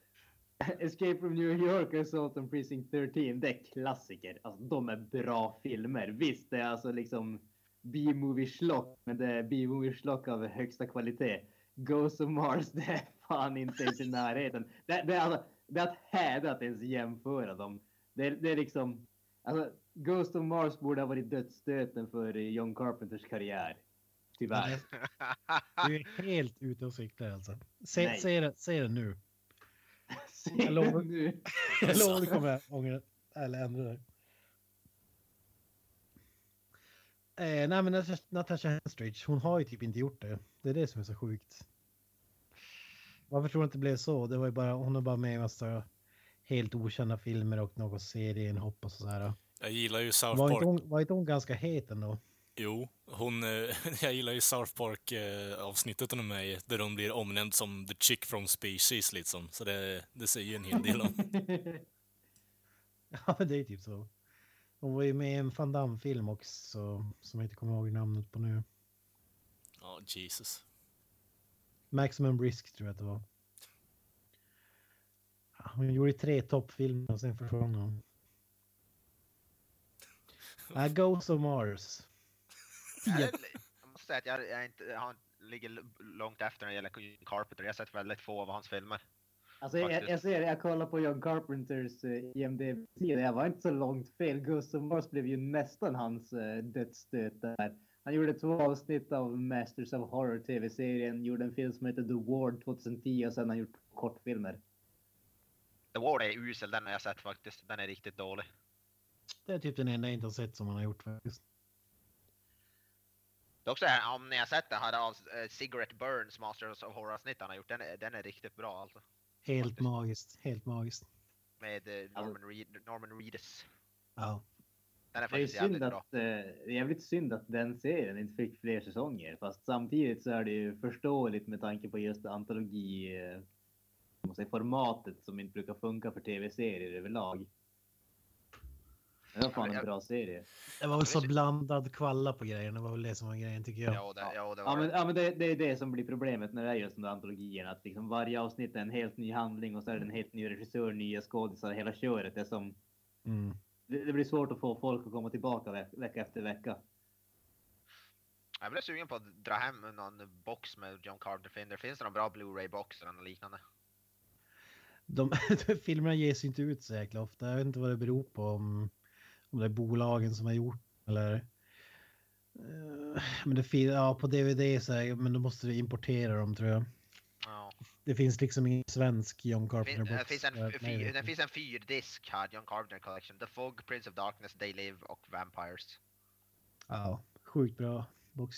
B: Escape from New York och Assault on Precinct 13, det är klassiker. Alltså, de är bra filmer. Visst, det är alltså liksom B-movie-schlock, men det är B-movie-schlock av högsta kvalitet. Ghost of Mars, det är fan inte ens i närheten. Det, det, är, alltså, det är att häda att ens jämföra dem. Det, det är liksom... Alltså, Ghost of Mars borde ha varit dödsstöten för John Carpenters karriär. Tyvärr.
D: Du är helt ute och cyklar alltså. Se,
B: Ah. Nej.
D: se, den, se den nu.
B: Se
D: Alltså, Jag lovar.
B: nu.
D: Jag lovar, du kommer ångra eller ändra dig. Eh, nej men Natasha- Natasha Henstridge, hon har ju typ inte gjort det. Det är det som är så sjukt. Varför tror du att det blev så? Det var ju bara, hon är bara med i massa helt okända filmer och någon serienhopp och sådär.
A: jag gillar ju South
D: Var inte,
A: Park.
D: hon, var inte hon ganska het ändå?
A: Jo, hon, eh, jag gillar ju South Park eh, avsnittet hon är med i, där hon blir omnämnd som the chick from species liksom. Så det, det säger ju en hel del om.
D: Ja, men det är typ så. Hon var ju med i en Van Damme-film också som jag inte kommer ihåg namnet på nu.
A: Ja, Jesus.
D: Maximum Risk tror jag att det var. Ja, Hon gjorde tre toppfilmer och sen försvann hon. I Ghost of Mars.
C: Jag, jag måste säga att jag, jag, är inte, jag ligger l- långt efter när det gäller John Carpenter. Jag har sett väldigt få av hans filmer.
B: Alltså, jag, jag
C: Faktiskt.
B: ser det, jag kollar på John Carpenters eh, IMDB-sida. Jag var inte så långt fel. Gustav Mars blev ju nästan hans eh, dödsstöt där. Han gjorde två avsnitt av Masters of Horror TV-serien, gjorde en film som heter The Ward 2010 och sen har han gjort kortfilmer.
C: The War är usel, den har jag sett faktiskt. Den är riktigt dålig.
D: Det är typ den enda jag inte har sett som han har gjort faktiskt.
C: Dock så här, om ni har sett den här av eh, Cigarette Burns Masters of Horror-avsnitt han har gjort, den är, den är riktigt bra alltså.
D: Helt
C: Faktiskt.
D: magiskt, helt magiskt.
C: Med eh, Norman, Reed, Norman Reedus.
D: Ja.
C: Den är
B: Det är ju
C: faktiskt jävligt
B: synd
C: bra.
B: att, eh, det är jävligt synd att den serien inte fick fler säsonger. Fast samtidigt så är det ju förståeligt med tanke på just antologi, eh, vad man säger, formatet som inte brukar funka för tv-serier överlag. Det var
C: Ja, men
B: fan en
C: jag-
B: bra serie.
D: Det var väl så blandad kvalla på grejen. Det var väl det som var grejen tycker jag.
C: Ja, det, ja, det
B: Ja
C: var
B: men,
C: det.
B: ja, men det, det är det som blir problemet när det är just de där antologierna. Att liksom varje avsnitt är en helt ny handling och så är det en helt ny regissör, nya skådisar, hela köret. Det, är som,
D: Mm.
B: det, det blir svårt att få folk att komma tillbaka ve- vecka efter vecka.
C: Jag blev sugen på att dra hem någon box med John Carpenter. Finns det någon bra Blu-ray-box eller något liknande?
D: De, filmerna ges ju inte ut så jäkla ofta. Jag vet inte vad det beror på. Om, om det är bolagen som har gjort eller... Eh, men det fin- ja, på DVD så är, men då måste du importera dem tror jag.
C: Ja.
D: Det finns liksom ingen svensk John Carpenter
C: Fin,
D: box.
C: det, finns en,
D: Nej, jag
C: fyr,
D: vet
C: det
D: inte.
C: finns en fyrdisk här, John Carpenter Collection. The Fog, Prince of Darkness, They Live och Vampires.
D: Ja, sjukt bra box.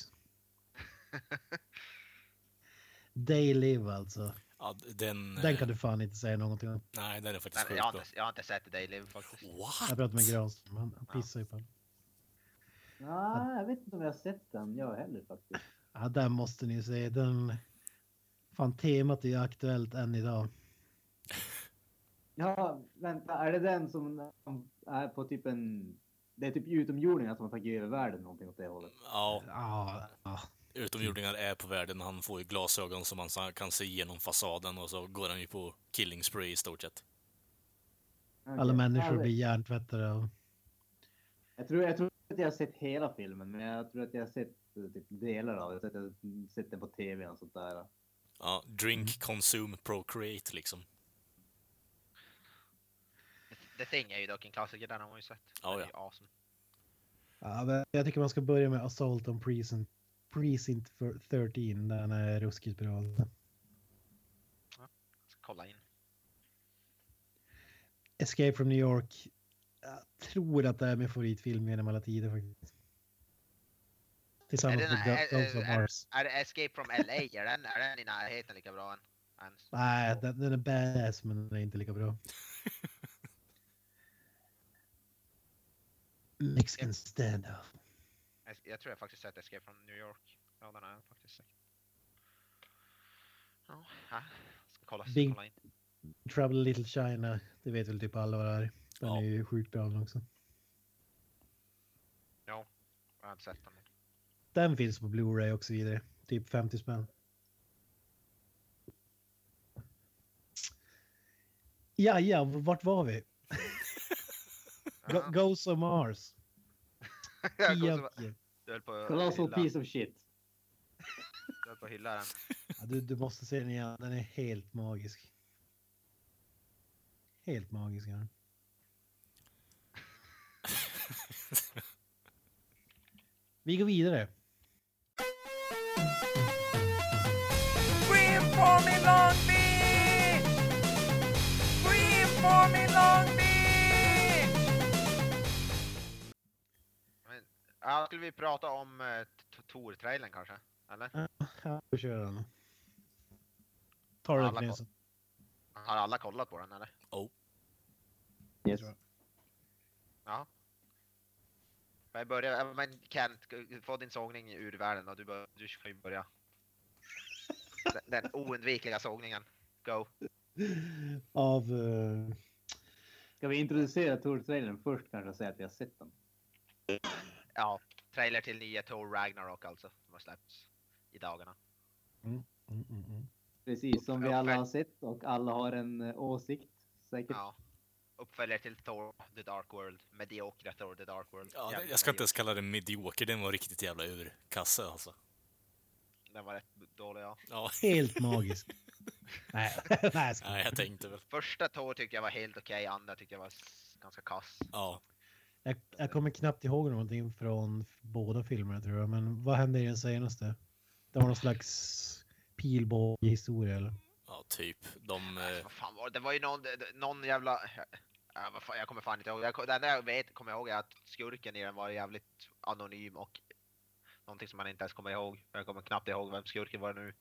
D: Day Live alltså.
A: Ja, d- den... eh,
D: Den kan du fan inte säga någonting om.
A: Nej, den är faktiskt
C: Nej,
A: sjukt
C: jag, har
A: bra.
C: inte, jag har inte sett dig live faktiskt.
D: Jag
A: What?
D: pratade med Granström, han han pissar ju på honom.
B: Ja, Ah, jag vet inte om jag har sett den jag heller faktiskt.
D: Ja, den måste ni ju se. Den... Fan, temat är ju aktuellt än idag.
B: Ja, vänta, är det den som är på typ en... Det är typ utomjordingar som har tagit över världen någonting åt det hållet.
A: Ja,
D: Ja, ja.
A: utomjordingar är på världen. Han får ju glasögon som man sa- kan se igenom fasaden och så går han ju på killing spree i stort sett.
D: alla
B: Okej.
D: människor
B: Ja,
D: blir hjärntvättade och
B: Jag tror, jag tror att jag har sett hela filmen, men jag tror att jag har sett eh, typ, delar av det. Jag tror att jag har sett den på tv och sånt där.
A: Ja, drink, consume, procreate liksom.
C: The Thing är ju dock en klassiker, den har man ju sett.
A: Ja,
C: Den är
A: ja.
C: ju Awesome.
D: Ja, men jag tycker man ska börja med Assault on Precinct, Precinct för 13. Den är ruskigt bra.
C: Jag ska kolla in.
D: Escape from New York. Jag tror att det är min favoritfilm genom alla tider faktiskt. Tillsammans
C: Är det
D: med
C: den-
D: Ghost-
C: är-
D: Ghost of
C: är-
D: Mars.
C: Är det Escape from LA? är, den, är den i närheten lika bra än? än...
D: Nej, den, den är badass men den är inte lika bra. Mexican standoff.
C: Es- Jag tror jag faktiskt sett Escape from New York. Ja, den har jag faktiskt sett. Ja, ja. Ska kolla,
D: Big-
C: kolla in.
D: Trouble in Little China. Det vet väl typ alla vad det är. Den
A: Ja.
D: är ju sjukt bra den också.
C: Jag har inte sett den.
D: Den finns på Blu-ray och så vidare. Typ 50 spänn. Ja, ja, vart var vi? Go-
C: Ja.
D: Ghosts of Mars.
C: Jag går
D: Tio
C: så-
D: av tio.
C: Du höll på att
B: Colossal
C: hylla-
B: piece of shit.
C: du höll på att hylla den.
D: Ja, du, du måste se den igen. Den är helt magisk. Helt magisk. Ja. Vi går vidare.
E: Scream for me, Long Beach! Scream for me, Long Beach!
C: Men, ja, skulle vi prata om eh, T- Tor-trailern kanske? Eller?
D: Ja, vi kör den. Tar
C: Alla
D: det Knut.
C: Har alla kollat på den eller?
B: Yes.
C: Ja. Men, börja, ja, men Kent, g- få din sågning ur världen då. Du, bör, du kan ju börja. Den, den oundvikliga sågningen. Go.
D: Av... eh,
B: Ska vi introducera Tor-trailern först kanske och säga att vi har sett den?
C: Ja, trailer till nya Thor Ragnarok alltså. Som har släppts i dagarna.
D: mm, mm, mm.
B: Precis, som vi alla har sett och alla har en eh, åsikt. Säkert.
C: Ja. Uppföljare till Thor The Dark World. Mediokra Thor The Dark World.
A: Ja,
C: Jävligt
A: jag ska inte
C: medioker.
A: ens kalla den medioker, den var riktigt jävla urkasse alltså.
C: Den var rätt dålig ja.
A: Ja,
D: Helt magisk. nej, nej, jag skojar.
A: nej, jag tänkte väl.
C: Första Thor tyckte jag var helt okej, andra tyckte jag var s- ganska kass.
A: Ja,
D: Jag, jag kommer knappt ihåg någonting från båda filmerna tror jag, men vad hände i den senaste? Det var någon slags pilbågehistoria eller?
A: ja typ. De...
C: Alltså,
A: Eh,
C: vad fan var det? Det var ju någon, det- det- någon jävla... Ja, vad fan, jag kommer fan inte ihåg. Jag, ko- det enda jag vet, kommer ihåg är att skurken i den var jävligt anonym och någonting som man inte ens kommer ihåg. Jag kommer knappt ihåg vem skurken var nu.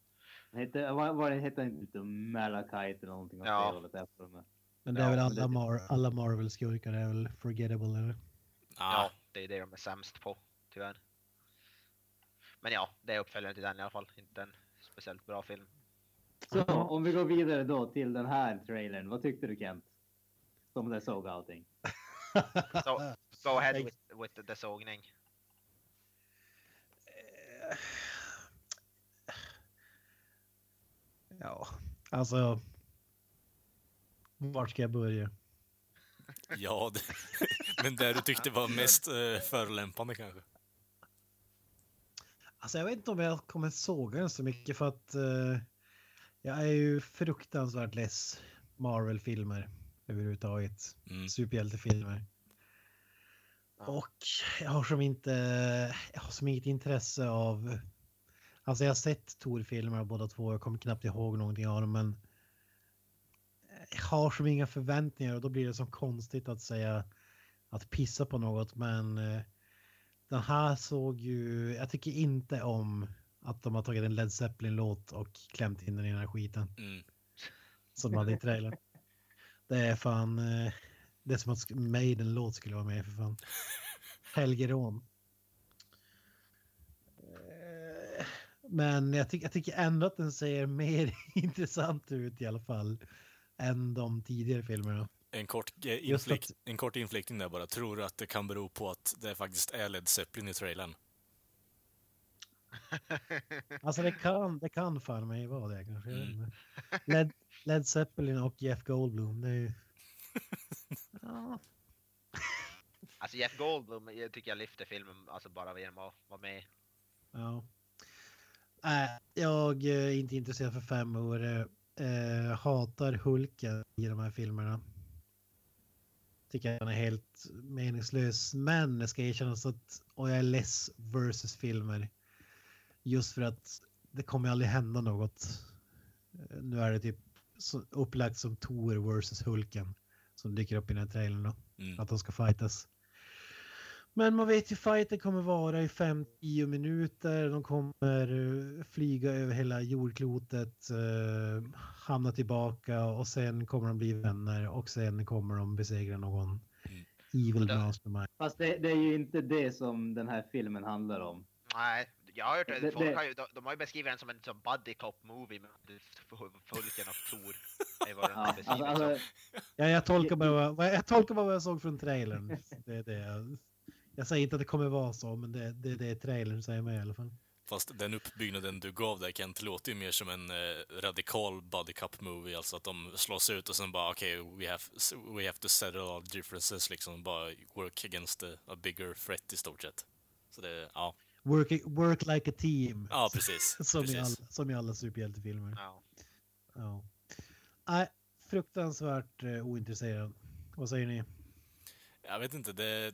B: Den Hette, vad, vad den hette den? Typ Malachite eller någonting åt
C: Ja.
B: det hållet. där för mig.
D: Men det är väl
B: Ja, men
D: alla,
B: det-
D: Mar- alla Marvel-skurkar är väl forgettable eller?
A: ah,
C: Ja, det är det de är sämst på, tyvärr. Men ja, det är uppföljaren till den i alla fall. Inte en speciellt bra film.
B: Så
D: Ja.
B: om vi går vidare då till den här trailern. Vad tyckte du Kent? Som det såg allting.
C: Så, go ahead with, with the- the sågning.
D: ja, alltså. Vart ska jag börja?
A: ja, det, men det du tyckte var mest eh, förolämpande kanske.
D: Alltså jag vet inte om jag kommer såga den så mycket för att eh, jag är ju fruktansvärt less Marvel-filmer överhuvudtaget.
A: Mm.
D: Superhjältefilmer. Och jag har som inte, jag har som inget intresse av, alltså jag har sett Tor-filmer båda två, jag kommer knappt ihåg någonting av dem men jag har som inga förväntningar och då blir det som konstigt att säga att pissa på något men eh, Den här såg ju, jag tycker inte om att de har tagit en Led Zeppelin-låt och klämt in den i den här skiten
A: Mm.
D: som de hade i trailern. Det är fan, eh, det är som att sk- Maiden-låt skulle vara med för fan. Helgerån. Eh, Men jag, tyck, jag tycker ändå att den ser mer intressant ut i alla fall än de tidigare filmerna.
A: En kort, eh,
D: Just att-
A: inflikt, en kort infliktning där bara. Tror du att det kan bero på att det faktiskt är Led Zeppelin i trailern?
D: Alltså det kan, det kan fan mig vara det kanske. jag vet inte. Led, Led Zeppelin och Jeff Goldblum. Det är ju... ja.
C: Alltså Jeff Goldblum jag tycker jag lyfter filmen alltså bara genom att vara med.
D: ja. Äh, jag är inte intresserad för fem öre. Eh, hatar Hulken i de här filmerna. Tycker han är helt meningslös. Men det ska erkännas att och jag är less versus filmer. Just för att det kommer aldrig hända något. Eh, Nu är det typ så upplagt som Thor versus Hulken. Som dyker upp i den här trailern då.
A: Mm.
D: Att de ska fightas. Men man vet ju fighten kommer vara i 5-10 minuter. De kommer eh, flyga över hela jordklotet, eh, hamna tillbaka och sen kommer de bli vänner och sen kommer de besegra någon
A: Mm.
D: evil
C: Där-
D: mastermind.
B: Fast det, det är ju inte det som den här filmen handlar om.
C: Nej, jag har hört
B: Det-
C: det. Folk
B: det-
C: har ju, de, de har ju beskrivit den som en som buddy cop movie med Fulken och Thor. Det var den
B: Ja,
C: beskrivits
B: alltså, alltså,
C: som.
D: Ja, jag, tolkar bara, vad- vad- jag tolkar bara vad jag såg från trailern. Det är det. jag- Jag säger inte att det kommer vara så, men det, det, det är trailern säger mig i alla fall.
A: Fast den uppbyggnaden du gav där Kent låter ju mer som en eh, radikal buddy cup movie, alltså att de slås ut och sen bara okej, we, have, we have to settle all differences liksom, bara work against a, a bigger threat i stort sett. Så det, ja,
D: Work, work like a team.
A: ja precis.
D: Som i,
A: precis.
D: alla, som i alla superhjältefilmer.
C: Ja.
D: Ja. Nej, fruktansvärt eh, ointresserad. Vad säger ni?
A: Jag vet inte, det...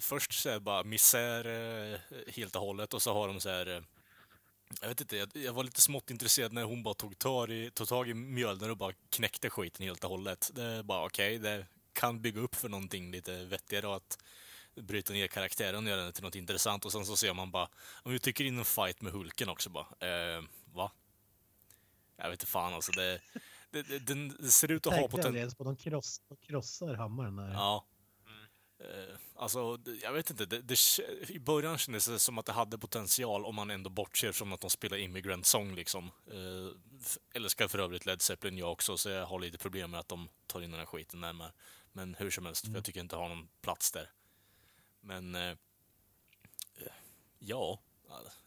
A: Först så är det bara misär eh, helt och hållet och så har de så här... eh, Jag vet inte, jag, jag var lite smått intresserad när hon bara tog tag i, tog tag i mjölden och bara knäckte skiten helt och hållet. Det är bara okej, det kan bygga upp för någonting lite vettigare och att bryta ner karaktären och göra den till något intressant och sen så ser man bara, om vi tycker in en fight med Hulken också bara, eh, va? Jag vet inte fan alltså, det, det, det, den, det ser ut att ha
D: Tänkte jag
A: potential.
D: redan på de, kross, de krossar hammaren där.
A: Ja.
C: Mm.
A: Eh, Alltså, det- jag vet inte. Det, det, k- I början kändes det som att det hade potential om man ändå bortser från att de spelar Immigrant Song liksom. Eh, f- älskar för övrigt Led Zeppelin jag också, så jag har lite problem med att de tar in den här skiten närmare. Men hur som helst, för jag tycker inte det har någon plats där. Men... eh, eh, ja,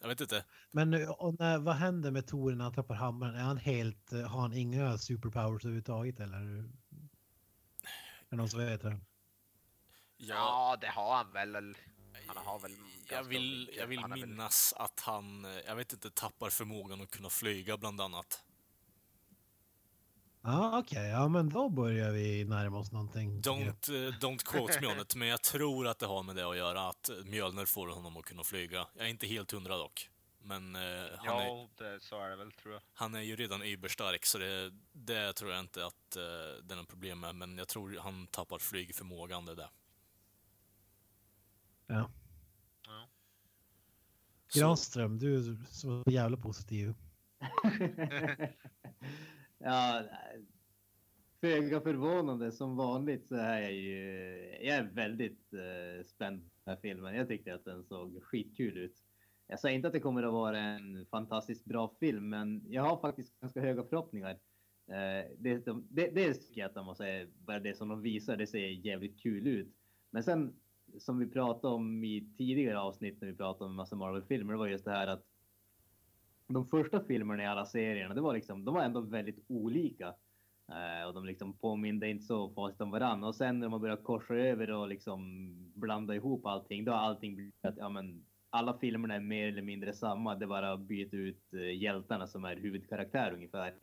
A: jag vet inte.
D: Men eh, och när, vad händer med Tor när han tappar hammaren? Är han helt, eh, har han inga superpowers överhuvudtaget eller? Är det någon som vet det?
A: Jag,
C: ja, det har han väl. Han har väl ganska
A: jag vill,
C: mycket.
A: jag vill
C: Han är väl-
A: minnas att han, eh, jag vet inte, tappar förmågan att kunna flyga bland annat.
D: Ja, okej. Ja, men då börjar vi närma oss någonting. tycker jag.
A: Don't, eh, don't quote me on it, men jag tror att det har med det att göra att Mjölner får honom att kunna flyga. Jag är inte helt hundra dock. Men eh, han, är,
C: Ja, det, så är det väl tror jag.
A: han är ju redan überstark, så det, det tror jag inte att eh, det är något problem med. Men jag tror han tappar flygförmågan, det där.
D: Ja.
C: Ja.
A: Så-
D: Granström, du är så jävla positiv.
B: ja, föga förvånande som vanligt så är jag ju... Jag är väldigt eh, spänd på den här filmen. Jag tyckte att den såg skitkul ut. Jag säger inte att det kommer att vara en fantastiskt bra film, men jag har faktiskt ganska höga förhoppningar. Eh, det, de, det, dels tycker jag att de måste, bara det som de visar, det ser jävligt kul ut. Men sen, som vi pratade om i tidigare avsnitt när vi pratade om en massa Marvel-filmer, det var just det här att de första filmerna i alla serierna, det var liksom, de var ändå väldigt olika. Eh, och de liksom påminde inte så fasligt om varandra. Och sen när man börjar korsa över och liksom blanda ihop allting, då har allting blivit att ja, men, alla filmerna är mer eller mindre samma. Det är bara att byta ut eh, hjältarna som är huvudkaraktär ungefär.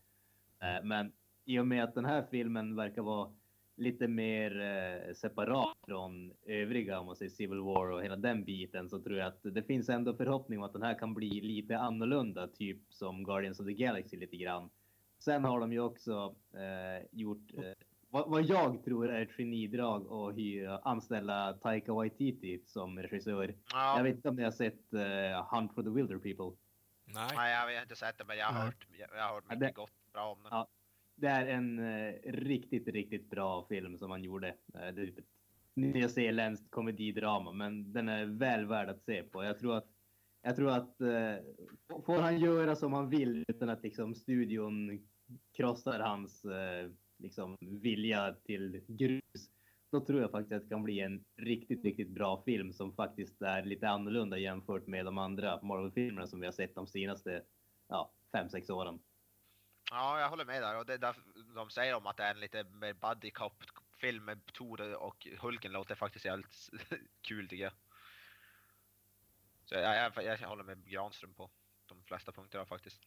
B: Eh, men i och med att den här filmen verkar vara lite mer eh, separat från övriga, om man säger Civil War och hela den biten, så tror jag att det finns ändå förhoppning om att den här kan bli lite annorlunda, typ som Guardians of the Galaxy lite grann. Sen har de ju också eh, gjort eh, Vad, vad jag tror är ett genidrag att hyra, anställa Taika Waititi som regissör.
C: Ja,
B: Jag vet inte om ni har sett eh, Hunt for the Wilder People.
A: Nej,
C: nej, jag har inte sett det men jag har
D: Nej.
C: hört, jag, jag har hört
B: Ja,
C: mycket
B: det-
C: gott bra om det.
B: Ja. Det är en eh, riktigt, riktigt bra film som han gjorde. Eh, det är typ ett nyzeeländskt komedidrama, men den är väl värd att se på. Jag tror att, jag tror att eh, får han göra som han vill utan att liksom, studion krossar hans eh, liksom, vilja till grus, då tror jag faktiskt att det kan bli en riktigt, riktigt bra film som faktiskt är lite annorlunda jämfört med de andra Marvel-filmerna som vi har sett de senaste ja, fem, sex åren.
C: Ja, jag håller med där. Och det är därför de säger om att det är en lite mer buddy cop film med Thor och Hulken låter faktiskt jävligt s- kul tycker jag. Så jag, jag, jag håller med Granström på de flesta punkterna faktiskt.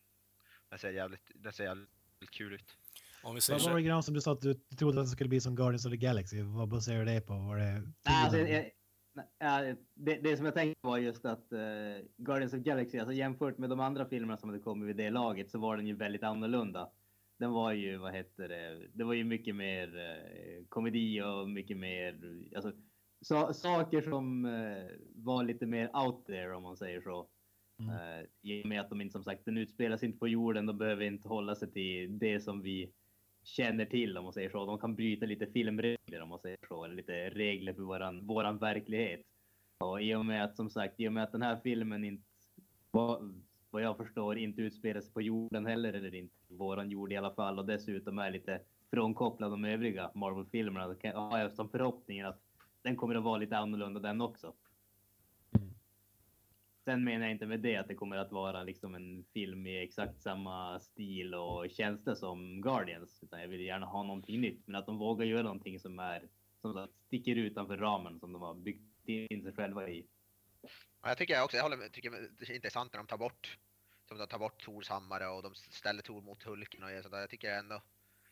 C: Den ser jävligt, den ser jävligt kul ut.
A: om vi säger
D: Vad var
A: så.
D: det grann som du sa att du trodde att det skulle bli som Guardians of the Galaxy? Vad baserar du det på? Var det
B: Nej, alltså, jag, jag- nej, det, det som jag tänkte var just att eh, Guardians of Galaxy, alltså jämfört med de andra filmerna som hade kommit vid det laget så var den ju väldigt annorlunda. Den var ju, vad heter det, det var ju mycket mer eh, komedi och mycket mer, alltså sa- saker som eh, var lite mer out there om man säger så.
D: Mm.
B: Eh, I och med att de inte som sagt, den utspelas inte på jorden, de behöver inte hålla sig till det som vi känner till om man säger så. De kan bryta lite filmregler om man säger så, eller lite regler för våran, våran verklighet. Och i och med att som sagt, i och med att den här filmen inte, vad, vad jag förstår, inte utspelar sig på jorden heller, eller inte våran jord i alla fall, och dessutom är lite frånkopplad de övriga Marvel-filmerna, då kan- har jag som förhoppningen att den kommer att vara lite annorlunda den också. Sen menar jag inte med det att det kommer att vara liksom en film i exakt samma stil och tjänster som Guardians. Utan jag vill gärna ha någonting nytt. Men att de vågar göra någonting som är som sagt, sticker utanför ramen som de har byggt in sig själva i.
C: Ja, jag tycker jag också, jag håller med, tycker det är intressant när de tar bort, som de tar bort Tors hammare och de ställer Tor mot Hulken och sånt där. Jag tycker ändå,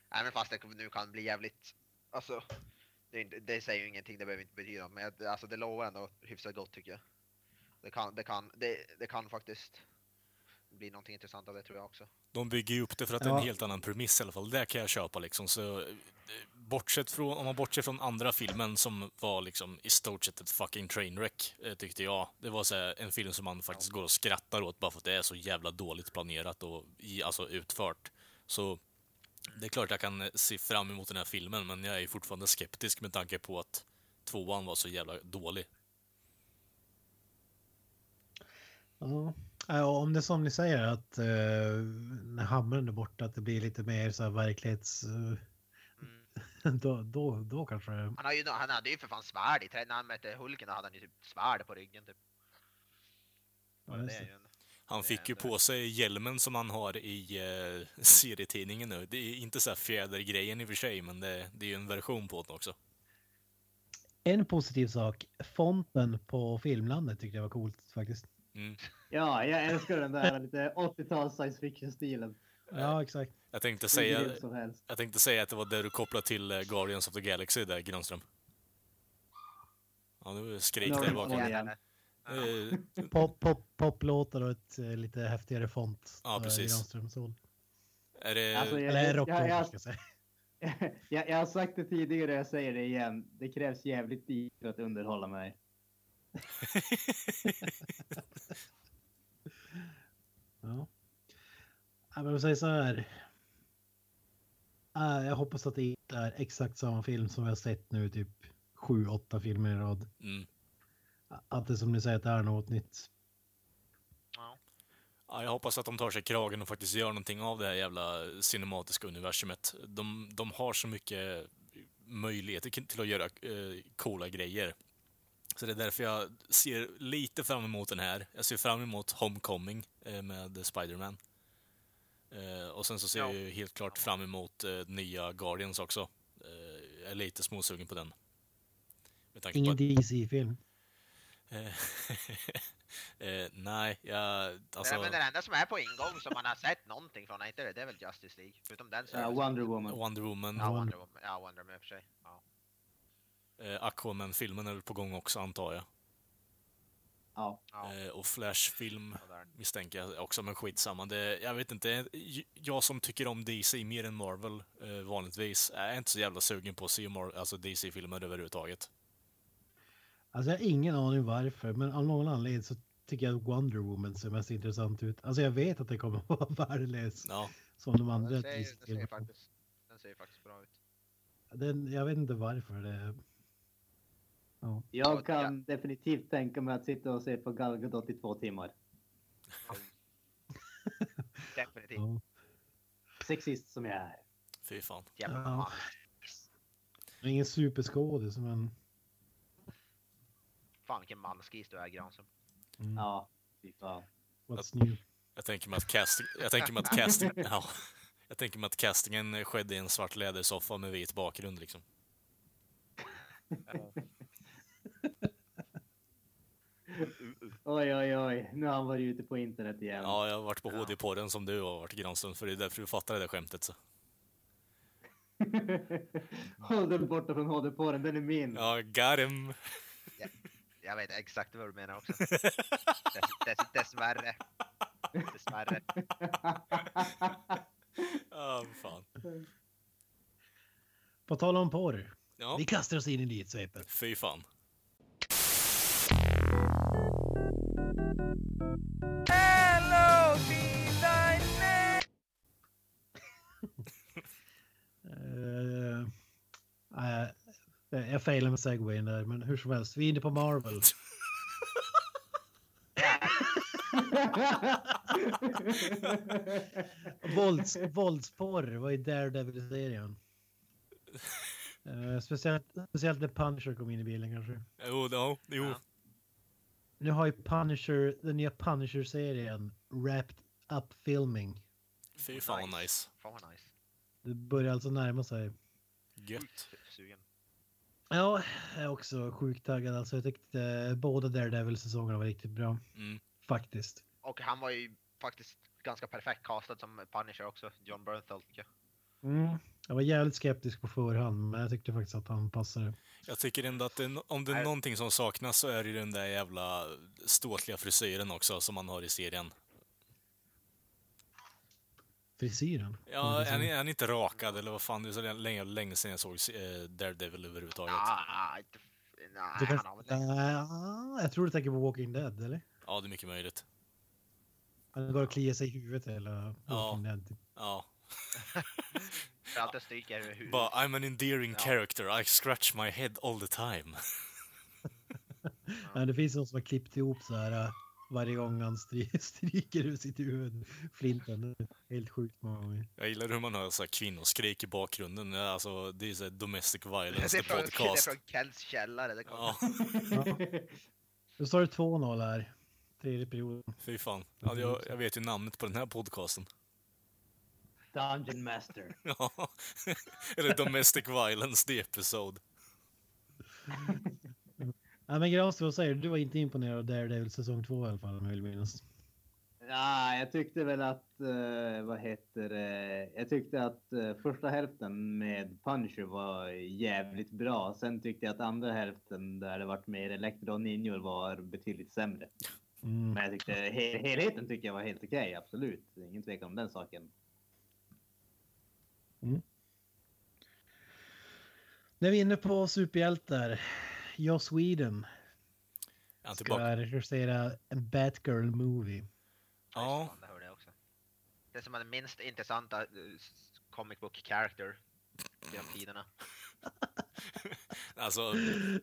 C: även fast det nu kan bli jävligt, alltså det, är inte- det säger ju ingenting, det behöver inte betyda något, men jag, alltså det lovar ändå hyfsat gott tycker jag. Det kan, det kan, det, det kan faktiskt bli någonting intressant av det tror jag också.
A: De bygger ju upp det för att det är en
D: Ja.
A: helt annan premiss i alla fall. Det kan jag köpa liksom. Så, eh, bortsett från, om man bortser från andra filmen som var liksom i stort sett ett fucking trainwreck, eh, tyckte jag. Det var så här, en film som man faktiskt går och skrattar åt bara för att det är så jävla dåligt planerat och i, alltså utfört. Så det är klart jag kan eh, se fram emot den här filmen, men jag är ju fortfarande skeptisk med tanke på att tvåan var så jävla dålig.
D: Ja. Ja, och om det är som ni säger att eh, när hammaren är borta att det blir lite mer så här verklighets... eh,
C: Mm.
D: då, då, då kanske det...
C: Han, har ju, han hade ju för fan svärd i trä- när han mötte Hulken då hade han ju typ svärd på ryggen typ.
D: Ja,
C: Och det
D: just
C: är
D: det.
C: ju en-
A: Han
C: Det
A: fick ju
B: Eh,
C: händer.
A: på sig hjälmen som han har i eh, serietidningen nu. Det är inte så här fjädergrejen i och för sig, men det, det är ju en version på den också.
D: En positiv sak, fonten på filmlandet tyckte jag var coolt faktiskt.
A: Mm.
B: Ja, jag älskar den där lite 80-tals science fiction-stilen.
A: Eh,
D: Ja, exakt.
A: Jag, tänkte
B: Hur
A: säga,
B: grym som helst.
A: jag tänkte säga att det var det du kopplade till eh, Guardians of the Galaxy där, Granström. Ja, nu skrek
B: Ja,
A: det i
B: det var
A: bakgrunden.
B: igen.
A: Eh,
D: Pop, pop, poplåtar och ett eh, lite häftigare font.
A: Ja, precis.
D: Granströms ord.
A: Är det...
B: Alltså, jag-
D: Eller
B: jag- jag-
D: rocklåtar ska jag säga.
B: jag, jag har sagt det tidigare och jag säger det igen. Det krävs jävligt tid för att underhålla mig.
D: Ja. Ja, men vi säger så här. Äh, jag hoppas att det inte är exakt samma film som vi har sett nu typ sju, åtta filmer i rad.
A: Mm.
D: Att det som ni säger att det är något nytt.
C: Ja.
A: Ja, jag hoppas att de tar sig kragen och faktiskt gör någonting av det här jävla cinematiska universumet. De, de har så mycket möjligheter k- till att göra eh, coola grejer. Så det är därför jag ser lite fram emot den här. Jag ser fram emot Homecoming eh, med Spider-Man. Eh, och sen så ser jag
C: Ja.
A: ju helt klart fram emot eh, nya Guardians också. Eh, jag är lite småsugen på den. Med tanke på
D: Ingen
A: att-
D: DC-film.
A: Eh, eh, nej, jag... Alltså...
C: Det, men den enda som är på ingång som man har sett någonting från, är inte det, det är väl Justice League. Förutom den så är
B: Ja,
C: det-
B: Wonder Woman.
A: Wonder Woman.
C: Ja, Wonder Woman. Ja, Wonder Woman i och för sig. Ja.
A: Eh, Aquaman-filmen är väl på gång också, antar jag.
B: Ja.
C: Ja,
A: Eh, och Flash-film
C: sådär.
A: misstänker jag också, men skitsamma. Det, jag vet inte, j- jag som tycker om DC mer än Marvel eh, vanligtvis är inte så jävla sugen på att se Mar- alltså DC-filmer överhuvudtaget.
D: Alltså jag har ingen aning varför, men av någon anledning så tycker jag att Wonder Woman ser mest intressant ut. Alltså jag vet att det kommer att vara värdelös
A: Ja,
D: som de
C: Ja,
D: andra.
C: Den ser, den, ser
D: Disney-filmerna.
C: faktiskt, den ser faktiskt bra ut.
D: Den, jag vet inte varför. Det... Ja.
B: Jag kan definitivt tänka mig att sitta och se på Gal Gadot i två timmar.
C: Definitivt.
D: Ja.
B: Sexist som jag är.
A: fy fan.
C: Jävla
D: Ja.
C: man.
D: Det är Ingen superskådis men...
C: Fan vilken manskis du är Granström.
D: Mm,
B: Ja, fy fan.
D: What's new?
A: Jag tänker mig att, cast, jag tänker mig att, cast, ja, jag tänker mig att castingen skedde i en svart lädersoffa med vit bakgrund liksom.
C: Eh,
B: Oj, oj, oj. Nu har han varit ute på internet igen.
A: Ja, jag har varit på HD-podden som du har varit Granström, för det är därför du fattar det där skämtet. Så.
B: Håll den borta från hd på den, den är min.
A: Ja, got him.
C: Jag vet exakt vad du menar också. Dess, dess, dessvärre. Dessvärre.
A: Ja, fan.
D: På tal om porr.
A: Ja,
D: Vi kastar oss in i nyhetssvepet.
A: fy fan.
E: Hello, Designer!
D: Eh, eh, jag failar med segwayn där, men hur som helst. Vi är inne på Marvel. Vålds, våldsporr var ju Daredevil-serien. Eh, speciellt, speciellt när Punisher kom in i bilden kanske.
A: Jo, no, jo.
C: Ja.
D: Nu har ju Punisher, den nya Punisher-serien, Wrapped Up Filming.
A: Fy fan vad nice.
C: Fan vad nice.
D: Det börjar alltså närma sig.
A: Gött.
C: Sjukt Sugen.
D: Ja, jag är också sjukt taggad alltså. Jag tyckte eh, båda Daredevil-säsongerna var riktigt bra.
A: Mm.
D: Faktiskt.
C: Och han var ju faktiskt ganska perfekt castad som Punisher också. John Bernthal tycker jag.
D: Jag var jävligt skeptisk på förhand, men jag tyckte faktiskt att han passade.
A: Jag tycker ändå att det, om det är
C: Nej.
A: någonting som saknas så är det ju den där jävla ståtliga frisyren också som man har i serien.
D: Frisyren.
A: Ja, är
D: Frisyren.
A: ni, är ni inte rakad eller vad fan? Det är så länge, länge sedan jag såg eh, Daredevil överhuvudtaget.
C: Ah, inte- nej,
D: Du kan-
C: han har väl det.
D: Ah, jag tror du tänker på Walking Dead, eller?
A: Ja, det är mycket möjligt.
D: Han går och kliar sig i huvudet eller
A: Ja.
D: Walking Dead. typ.
A: Ja.
C: För allt jag stryker över huvudet.
A: Bara, I'm an endearing
C: Ja.
A: character, I scratch my head all the time.
D: Men det finns någon som har klippt ihop så här äh, varje gång han stry- stryker ur sitt huvud. Flinten. Det är Helt sjukt många gånger.
A: Jag gillar hur man hör så här kvinnoskrik i bakgrunden. Alltså, det är så här domestic violence
C: Det
A: the
C: är från, det är
A: podcast.
C: från Kels källare. Det kommer.
A: Ja,
D: Nu står det 2-0 här. Tredje perioden.
A: fy fan. Ja, jag, jag vet ju namnet på den här podcasten.
B: Dungeon Master.
A: Ja. Eller domestic violence the episode.
D: Nej men Granström, vad säger du? Du var inte imponerad av Daredevil säsong 2 i alla fall om jag vill minnas.
B: Ja, jag tyckte väl att, eh, vad heter det, jag tyckte att eh, första hälften med Punisher var jävligt bra. Sen tyckte jag att andra hälften där det vart mer Elektra och ninjor var betydligt sämre.
D: Mm.
B: Men jag tyckte he- helheten tyckte jag var helt okej, absolut. Det är Ingen tvekan om den saken.
D: När vi är inne på superhjältar. Joss Sweden
A: Är han tillbaka?
D: ska regissera en Batgirl-movie.
A: Ja.
C: Fan, det hörde jag också. Det är som den minst intressanta eh, s- comic book character genom tiderna.
A: Alltså,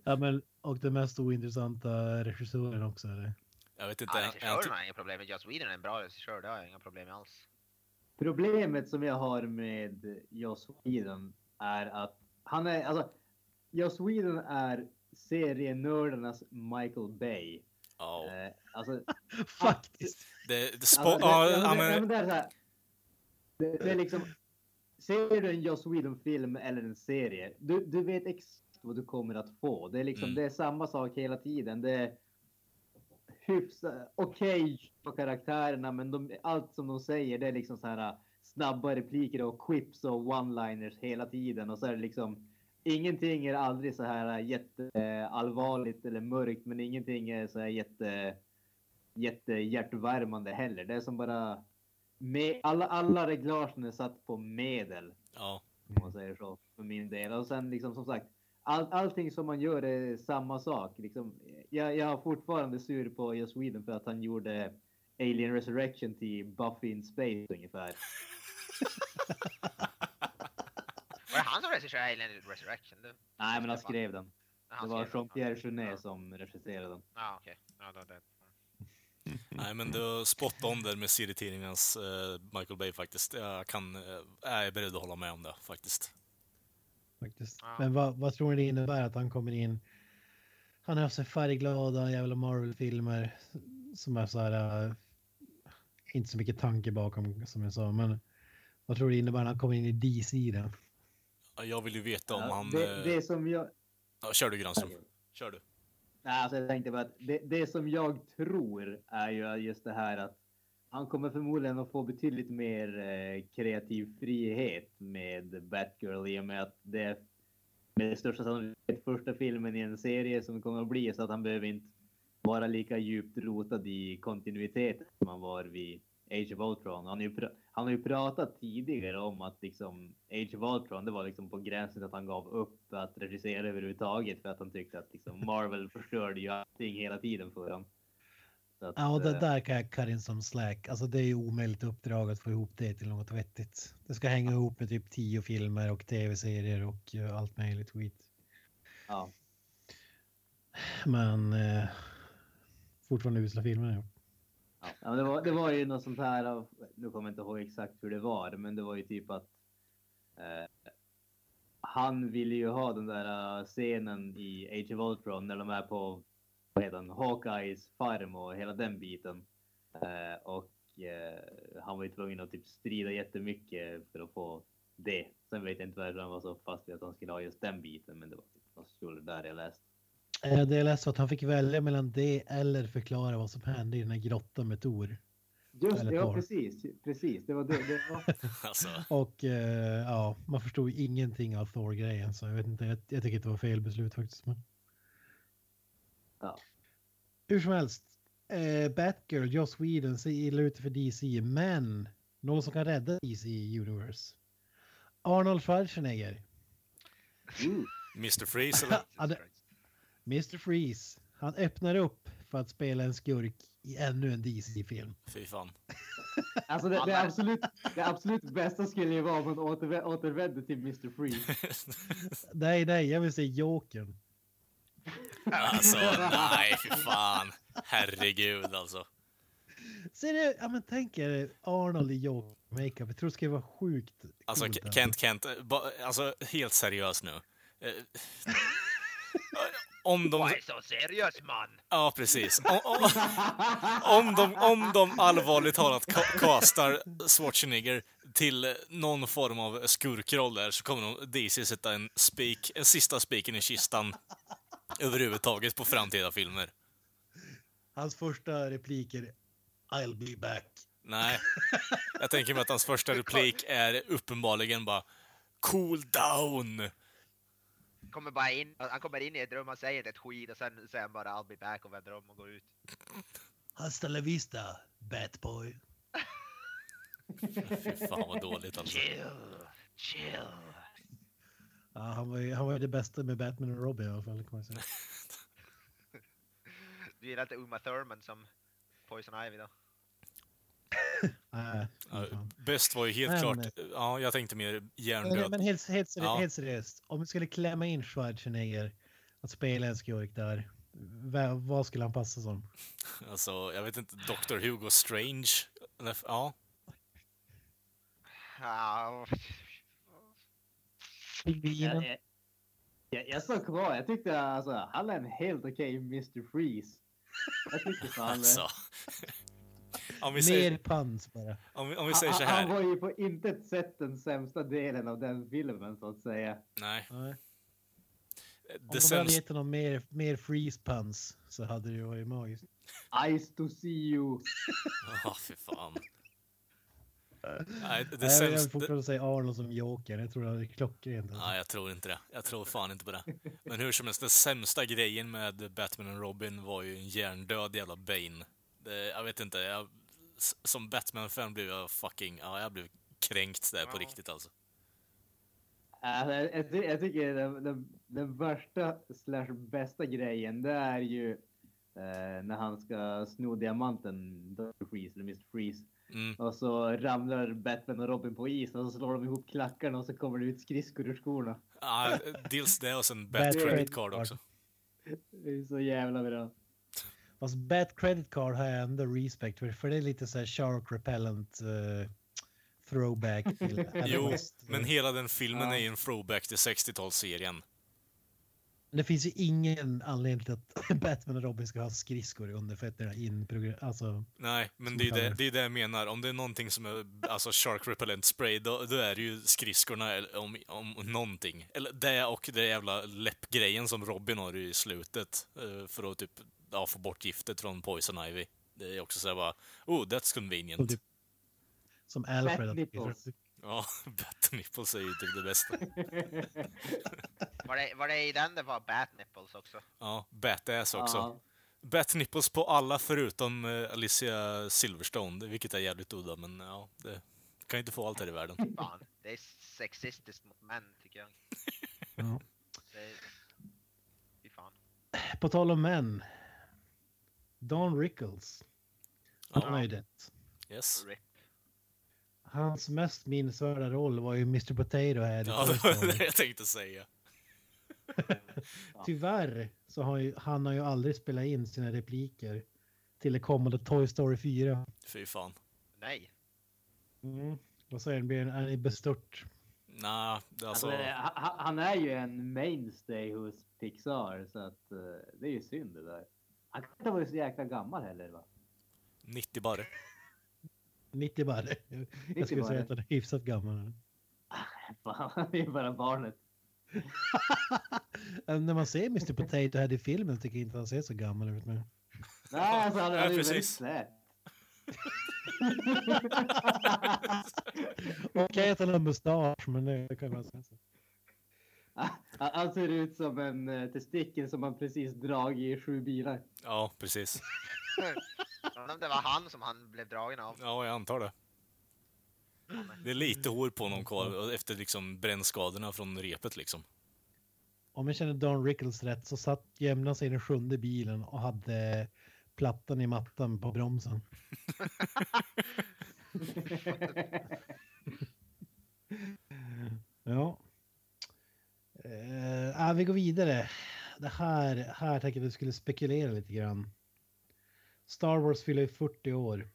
D: Ja, men, och den mest ointressanta regissören också. Eller?
A: jag vet inte.
C: Ja,
A: är han,
C: regissören har jag inga problem med. Joss Whedon är en bra regissör, det har jag inga problem med alls.
B: Problemet som jag har med Joss Whedon är att han är, alltså, Joss Whedon är serienördarnas Michael Bay.
A: ja,
B: Eh, alltså,
D: Faktiskt.
A: det, det, spo-
B: Alltså, det-
A: ja,
B: ja,
A: ja,
B: men det- ja, men
A: men,
B: det är så här. Det det är liksom. Ser du en Joss Whedon-film eller en serie, du, du vet exakt vad du kommer att få. Det är liksom,
A: Mm.
B: det är samma sak hela tiden. Det är hyfsat okej på karaktärerna, men de, allt som de säger, det är äh, liksom så här snabba repliker och quips och one-liners hela tiden och så är det liksom ingenting är aldrig så här jätteallvarligt eller mörkt, men ingenting är så här jätte, jättehjärtvärmande heller. Det är som bara... Med, alla, alla reglagen är satt på medel,
A: Ja,
B: om man säger så, för min del. Och sen liksom som sagt, all, allting som man gör är samma sak. Liksom, jag, jag är fortfarande sur på Joss Sweden för att han gjorde Alien Resurrection till Buffy in Space ungefär.
C: Var det han som regisserade Alien Resurrection? Det,
B: Nej, men han
C: det var-
B: skrev den. Det
C: han
B: var
C: skrev den.
B: Jean-Pierre Jeunet
C: Ja.
B: som regisserade den.
C: Ja, okej. Ja, det, det.
A: nej men du har spot on där med serietidningens eh, Michael Bay faktiskt. Jag kan, eh, jag är beredd att hålla med om det faktiskt.
D: Faktiskt.
C: Ja.
D: Men vad, vad tror ni det innebär att han kommer in? Han har haft sig färgglada jävla Marvel-filmer som är så här. eh, inte så mycket tanke bakom som jag sa, men vad tror du det innebär när han kommer in i DC? Då?
A: Ja, Jag vill ju veta om
B: Ja,
A: han...
B: det,
A: eh,
B: det som jag...
A: Ja, kör du Granström. Kör du.
B: Nej, alltså jag tänkte bara att det, det som jag tror är ju just det här att han kommer förmodligen att få betydligt mer eh, kreativ frihet med Batgirl i och med att det är med största sannolikhet första filmen i en serie som kommer att bli så att han behöver inte vara lika djupt rotad i kontinuitet som han var vid Age of Ultron. Han, har ju pra- han har ju pratat tidigare om att liksom Age of Ultron, det var liksom på gränsen till att han gav upp att regissera överhuvudtaget för att han tyckte att liksom Marvel förstörde ju allting hela tiden för honom. Så att,
D: Ja, och det
B: eh,
D: där kan jag cut in som slack. Alltså det är ju omöjligt uppdrag att få ihop det till något vettigt. Det ska hänga ihop med typ tio filmer och tv-serier och eh, allt möjligt skit.
B: ja.
D: Men eh, fortfarande usla filmer. ja.
B: Ja, men det, var, det var ju något sånt här, av, nu kommer jag inte ihåg exakt hur det var, men det var ju typ att eh, han ville ju ha den där eh, scenen i Age of Ultron när de är på vad heter den, Hawkeyes farm och hela den biten. Eh, och eh, han var ju tvungen att typ strida jättemycket för att få det. Sen vet jag inte varför han var så fast vid att han skulle ha just den biten, men det var typ något kul där jag läste.
D: Eh, Det jag läste var att han fick välja mellan det eller förklara vad som hände i den här grottan med Tor.
B: Just
D: Eller
B: ja
D: Thor.
B: precis, precis. Det var det. det var...
A: Alltså,
D: Och eh, ja, man förstod ju ingenting av Thor-grejen så jag vet inte, jag, jag tycker att det var fel beslut faktiskt. Men...
B: Ja.
D: Hur som helst, eh, Batgirl, Joss Whedon ser illa ut för DC, men någon som kan rädda DC Universe. Arnold Schwarzenegger,
B: Mm.
A: Mr Freeze eller?
D: Ja, det- Mr. Freeze, han öppnar upp för att spela en skurk i ännu en DC-film.
A: Fy fan.
B: Alltså det, det,
C: Alla-
B: absolut, det absolut bästa skulle ju vara om man återvä- återvände till Mr. Freeze.
D: Nej, nej, jag vill se Jokern.
A: alltså, nej fy fan. Herregud alltså.
D: Ser du? Ja men tänk er Arnold i jobb makeup. Jag tror det skulle vara sjukt
A: Alltså
D: coolt,
A: K- Kent, Kent, eh, ba, alltså helt seriös nu. Eh, Om de...
C: Vad är så seriös man?
A: Ja, precis. Om, om, om, de, om de allvarligt talat ka- kastar Schwarzenegger till eh, någon form av skurkroll där så kommer de DC sätta en spik, en sista spiken i kistan överhuvudtaget på framtida filmer.
D: Hans första repliker I'll be back.
A: Nej. Jag tänker mig att hans första replik är uppenbarligen bara Cool down!
C: Kommer bara in, han kommer in i ett rum, han säger inte ett skit och sen säger han bara I'll be back och vänder om och går ut.
D: Hasta la vista, Batboy.
A: Fy fan vad dåligt alltså.
C: Chill, chill.
D: Ja, han, var ju, han var ju det bästa med Batman och Robin i alla fall. Kan man säga.
C: Du gillar inte Uma Thurman som Poison Ivy då?
D: Nej,
A: Ja,
D: fy fan.
A: Bäst var ju helt
D: Men-
A: klart... eh, Ja, jag tänkte mer
D: men,
A: hjärndöd.
D: men helt, helt, seriöst,
A: Ja.
D: helt seriöst, om vi skulle klämma in Schwarzenegger att spela en skurk där, v- vad skulle han passa som?
A: Alltså, jag vet inte. Dr. Hugo Strange? Eller- Ja.
C: Ja,
D: Pingvinen?
B: Jag, jag, jag, jag står kvar. Jag tyckte alltså, han är en helt okej Mr. Freeze. Jag tyckte fan det.
A: Alltså. Om vi säger,
D: Mer Ah, pans bara.
A: om vi, om vi
B: Han,
A: säger så
B: han, han
A: här.
B: var ju på intet sätt den sämsta delen av den filmen så att säga.
A: Nej.
D: Nej. Om
A: Det
D: de hade
A: sämsta...
D: gett honom mer, mer freeze puns så hade det ju varit magiskt.
B: Ice to see you.
A: Ja, fy fan. Nej, det
D: Nej, jag vill
A: sämsta...
D: fortfarande säga Arnold som Joker. Jag tror det är klockrent.
A: Nej, jag tror inte det. Jag tror fan inte på det. Men hur som helst, den sämsta grejen med Batman och Robin var ju en hjärndöd jävla Bane. Det, jag vet inte, jag, s- som Batman-fan blev jag fucking... Ja, jag blev kränkt där på
C: Ja.
A: riktigt alltså.
B: Alltså, jag, jag ty- jag tycker den, den, den värsta slash bästa grejen det är ju eh, när han ska sno diamanten, Dr. Freeze eller Mr. Freeze.
A: Mm.
B: Och så ramlar Batman och Robin på isen och så slår de ihop klackarna och så kommer det ut skridskor ur skorna.
A: Ja, dels det och sen
D: Bad
A: Bat Credit
D: credit
A: Card
D: card.
A: också.
B: Det är så jävla bra.
D: Fast Bat Credit Card har jag ändå respect för. För det är lite så här shark repellent eh, throwback till Adam
A: Jo,
D: West.
A: Men hela den filmen
D: Ja.
A: är ju en throwback till 60-talsserien.
D: Det finns ju ingen anledning till att Batman och Robin ska ha skridskor under fötterna in Alltså,
A: Nej, men
D: Som
A: det är ju det,
D: faller.
A: det är det jag menar. Om det är någonting som är alltså shark repellent spray, då, då är det ju skridskorna eller om, om någonting. Eller det och det jävla läppgrejen som Robin har i slutet eh, för att typ ja, få bort giftet från Poison Ivy. Det är också så här bara, oh that's
D: som,
A: convenient.
D: typ, som Alfred.
B: Fat nipples.
A: Ja, Bat Nipples är ju typ det bästa.
C: Var det, var det i den det var Bat Nipples också?
A: Ja, Bat-ass också. alltså-
B: Ja.
A: Bat Nipples på alla förutom eh, Alicia Silverstone, vilket är jävligt udda, men ja, det kan ju inte få allt här i världen.
C: Fan, det är sexistiskt mot män tycker jag.
D: Ja.
C: Det är... Fy fan.
D: På tal om män. Don Rickles. Han
A: Ja.
D: har ju dött.
A: Yes.
C: RIP.
D: Hans mest minnesvärda roll var ju Mr Potato här. i
A: Ja, det
D: Toy
A: var
D: Story.
A: det jag tänkte säga.
D: Tyvärr så har ju, han har ju aldrig spelat in sina repliker till det kommande Toy Story 4.
A: Fy fan.
C: Nej.
D: Mm. Vad säger ni? Blir han- Är ni bestört?
A: Nej,
B: Alltså,
A: alltså...
B: eh, ha- ha- han är ju en mainstay hos Pixar så att eh, det är ju synd det där. Han kan inte vara så jäkla gammal heller va?
A: 90 bara.
D: 90 bara. Jag
B: 90
D: skulle säga
B: bara.
D: att han är hyfsat gammal.
B: Fan, han är ju bara barnet.
D: Äm, Äh, När man ser Mr Potato här i filmen tycker jag inte han ser så gammal ut. Men...
B: Nej, alltså han
A: Ja,
B: han är ju
A: precis.
B: väldigt slät.
D: Okej att han har mustasch, men det kan man säga. så.
B: Han han ser ut som en eh, testikel som man precis dragit i sju bilar.
A: Ja, precis.
C: Undrar om det var han som han blev dragen av.
A: Ja, jag antar det. Det är lite hår på honom kvar och efter liksom brännskadorna från repet liksom.
D: Om jag känner Don Rickles rätt så satt jämna sig i den sjunde bilen och hade plattan i mattan på bromsen. Ja. Eh, ah, vi går vidare. Det här, här tänkte jag att vi skulle spekulera lite grann. Star Wars fyller ju 40 år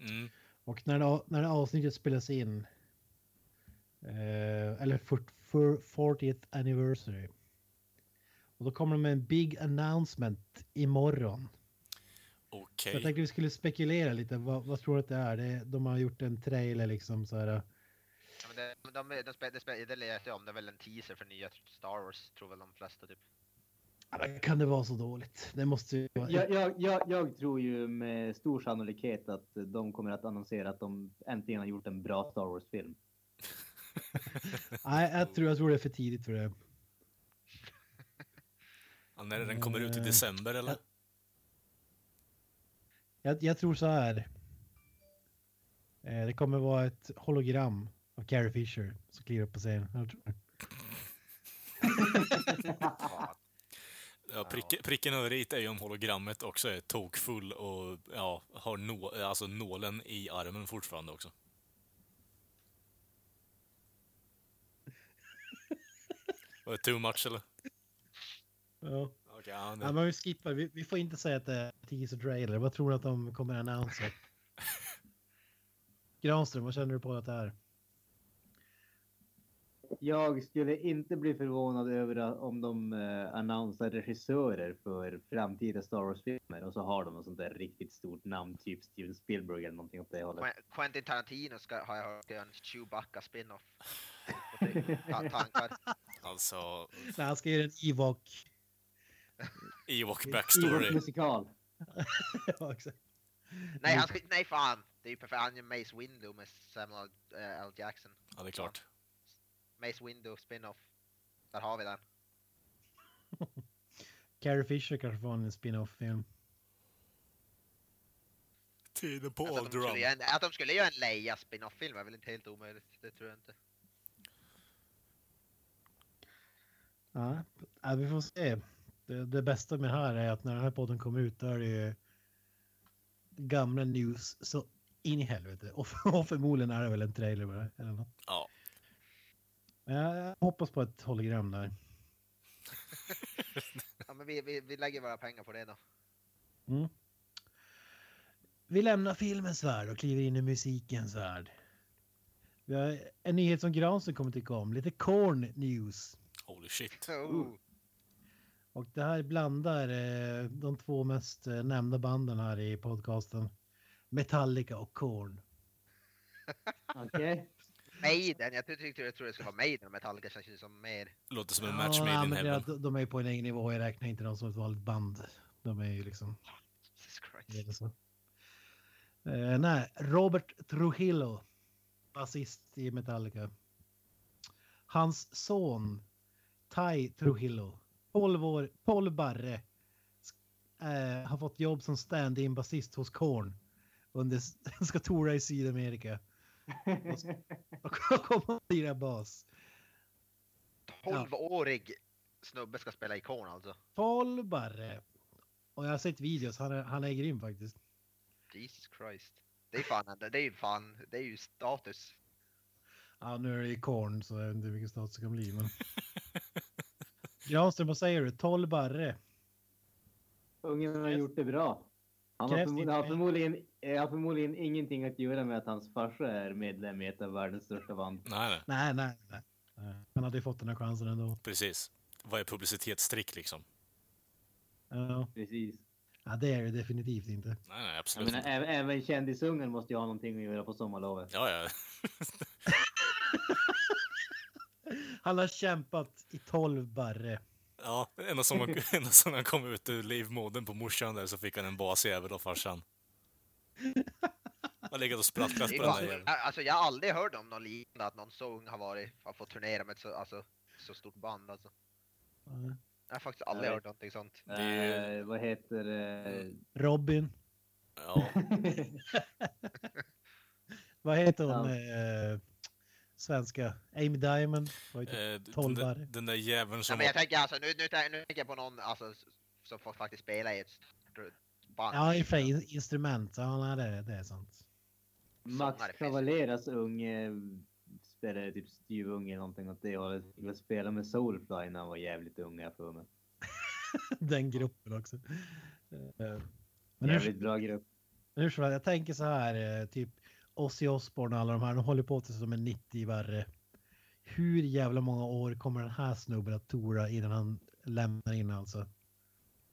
A: Mm.
D: och när det, när det avsnittet spelas in. Eh, eller 40, 40th anniversary. Och då kommer de med en big announcement imorgon. Så
A: Okej.
D: jag tänkte vi skulle spekulera lite. Vad, vad tror du att det är? Det, de har gjort en trailer liksom så här.
C: Ja, men det, de, de, de, spe- det spe- det lät jag om, det är väl en teaser för nya Star Wars, tror väl de flesta typ.
D: "Ah, Kan det vara så dåligt? Det måste ju vara
B: Jag, jag, jag, jag tror ju med stor sannolikhet att de kommer att annonsera att de äntligen har gjort en bra Star Wars-film.
D: Nej, jag tror, jag tror det är för tidigt för det.
A: Ja, när den kommer ut i
D: Eh,
A: december eller?
D: Jag, jag tror så här. Eh, Det kommer vara ett hologram av Carrie Fisher som kliver upp på scenen. Jag tror-
C: Fan.
A: Ja, prick, pricken över i är ju om hologrammet också är tokfull och ja, har nå, alltså nålen i armen fortfarande också. Var det too much eller?
D: Ja.
A: Okej, ja,
D: Nej,
A: det-
D: men vi skippar. Vi, vi får inte säga att det är teaser trailer. Vad tror du att de kommer att annonsa? Granström, vad känner du på att det är?
B: Jag skulle inte bli förvånad över att- om de eh, annonsar regissörer för framtida Star Wars-filmer och så har de något sånt där riktigt stort namn, typ Steven Spielberg eller någonting åt det hållet.
C: Quen- Quentin Tarantino ska, har jag hört, ska göra en Chewbacca spin-off. Och det- ta- Tankar.
A: Alltså,
D: Nej, han ska göra en Ewok.
A: Ewok
B: Ewok
A: backstory.
B: musikal.
D: Ja, exakt.
C: Nej, han ska, nej fan! Det är ju perfekt. Han är Mace Window med Samuel eh, L. Jackson.
A: Ja, det är klart.
C: Mace Window spin-off. Där har vi den.
D: Carrie Fisher kanske får en spin-off-film.
A: Tiden på
C: Att de, skulle
A: Alderaan.
C: göra en, att de skulle göra en Leia spin-off-film är väl inte helt omöjligt. Det tror jag inte.
D: Ja, ja, vi får se. Det, det bästa med det här är att när den här podden kommer ut då är det ju gamla news så in i helvete. Och, och förmodligen är det väl en trailer bara. Eller något.
A: Ja.
D: Men jag hoppas på ett hologram där.
C: Ja, men vi, vi, vi lägger våra pengar på det då.
D: Mm. Vi lämnar filmens värld och kliver in i musikens värld. Vi har en nyhet som Granström kommer tycka om. Lite corn news.
A: Holy shit.
C: Oh.
D: Och det här blandar eh, de två mest eh, nämnda banden här i podcasten. Metallica och Korn.
B: Okej.
C: Maiden. Jag tyckte, jag trodde det skulle vara Maiden och Metallica. Känns ju som mer.
A: Låter som en match made
D: ja,
A: in
D: men det-
A: heaven.
D: de- de är ju på en egen nivå. Jag räknar inte dem som ett vanligt band. De är ju liksom...
C: Jesus
D: det
C: Christ.
D: är så. Eh, nej, Robert Trujillo, basist i Metallica. Hans son, Ty Trujillo, 12 år, 12 barre, eh, har fått jobb som stand-in basist hos Korn. Under ska toura i Sydamerika och komma och lira bas.
C: 12-årig snubbe ska spela ikon alltså.
D: 12 barre. Och jag har sett videos, han är, han är grym faktiskt.
C: Jesus Christ. Det är fan, det är ju fan, det är ju status.
D: Ja, nu är det ju korn så jag vet inte hur mycket status det kan bli. Men... Granström, vad säger du? 12 barre?
B: Ungen har gjort det bra. Han har,
D: Krävs
B: förmo-
D: inte-
B: har, förmodligen, eh, har förmodligen ingenting att göra med att hans farsa är medlem i ett av världens största band.
A: Nej, nej.
D: Nej, nej, nej. Nej. Han hade ju fått den här chansen ändå.
A: Precis. Vad är publicitetstrick liksom?
D: Ja,
B: Precis.
D: Ja, det är det definitivt inte.
A: Nej, nej,
B: Jag
A: absolut
B: menar,
A: inte.
B: även, även kändisungen måste ju ha någonting att göra på sommarlovet.
A: Ja, ja.
D: Han har kämpat i 12 barre.
A: ja ända, som han, ända som han kom ut ur livmodern på morsan där så fick han en basjävel av farsan. Han har legat och sprattlat
C: Det är
A: på den där
C: fan-
A: jäveln.
C: Alltså jag har aldrig hört om någon liknande, att någon så ung har varit, har fått turnera med ett så, alltså, så stort band alltså.
D: Ja.
C: Jag har faktiskt aldrig
B: Nej.
C: hört någonting sånt.
A: Det är
B: Eh, vad heter eh,
D: Robin.
A: Ja, eh,
D: Vad heter hon?
B: Ja.
D: Eh, svenska? Amy Diamond. Var ju typ
A: eh, den,
D: 12
A: där-
D: barre.
A: den där jäveln
C: Nej,
A: som...
C: men jag
A: Var,
C: tänker alltså, nu, nu, tän- nu tänker jag på någon alltså, s- som får faktiskt spela i ett stort band.
D: Ja, i och för sig in- instrument. Ja, nej, det, det är sant.
B: Max
C: Sommarfest.
B: Cavaleras unge spelade typ styvunge någonting åt det hållet. Skulle spela med Soulfly när han var jävligt ung har jag för mig.
D: Den gruppen också. Eh, Men hur,
B: Jävligt bra grupp.
D: Men Hur som helst, jag tänker så här, eh, typ Ozzy Osbourne och alla de här, de håller på tills de är 90 värre. Hur jävla många år kommer den här snubben att tora innan han lämnar in alltså?
C: Det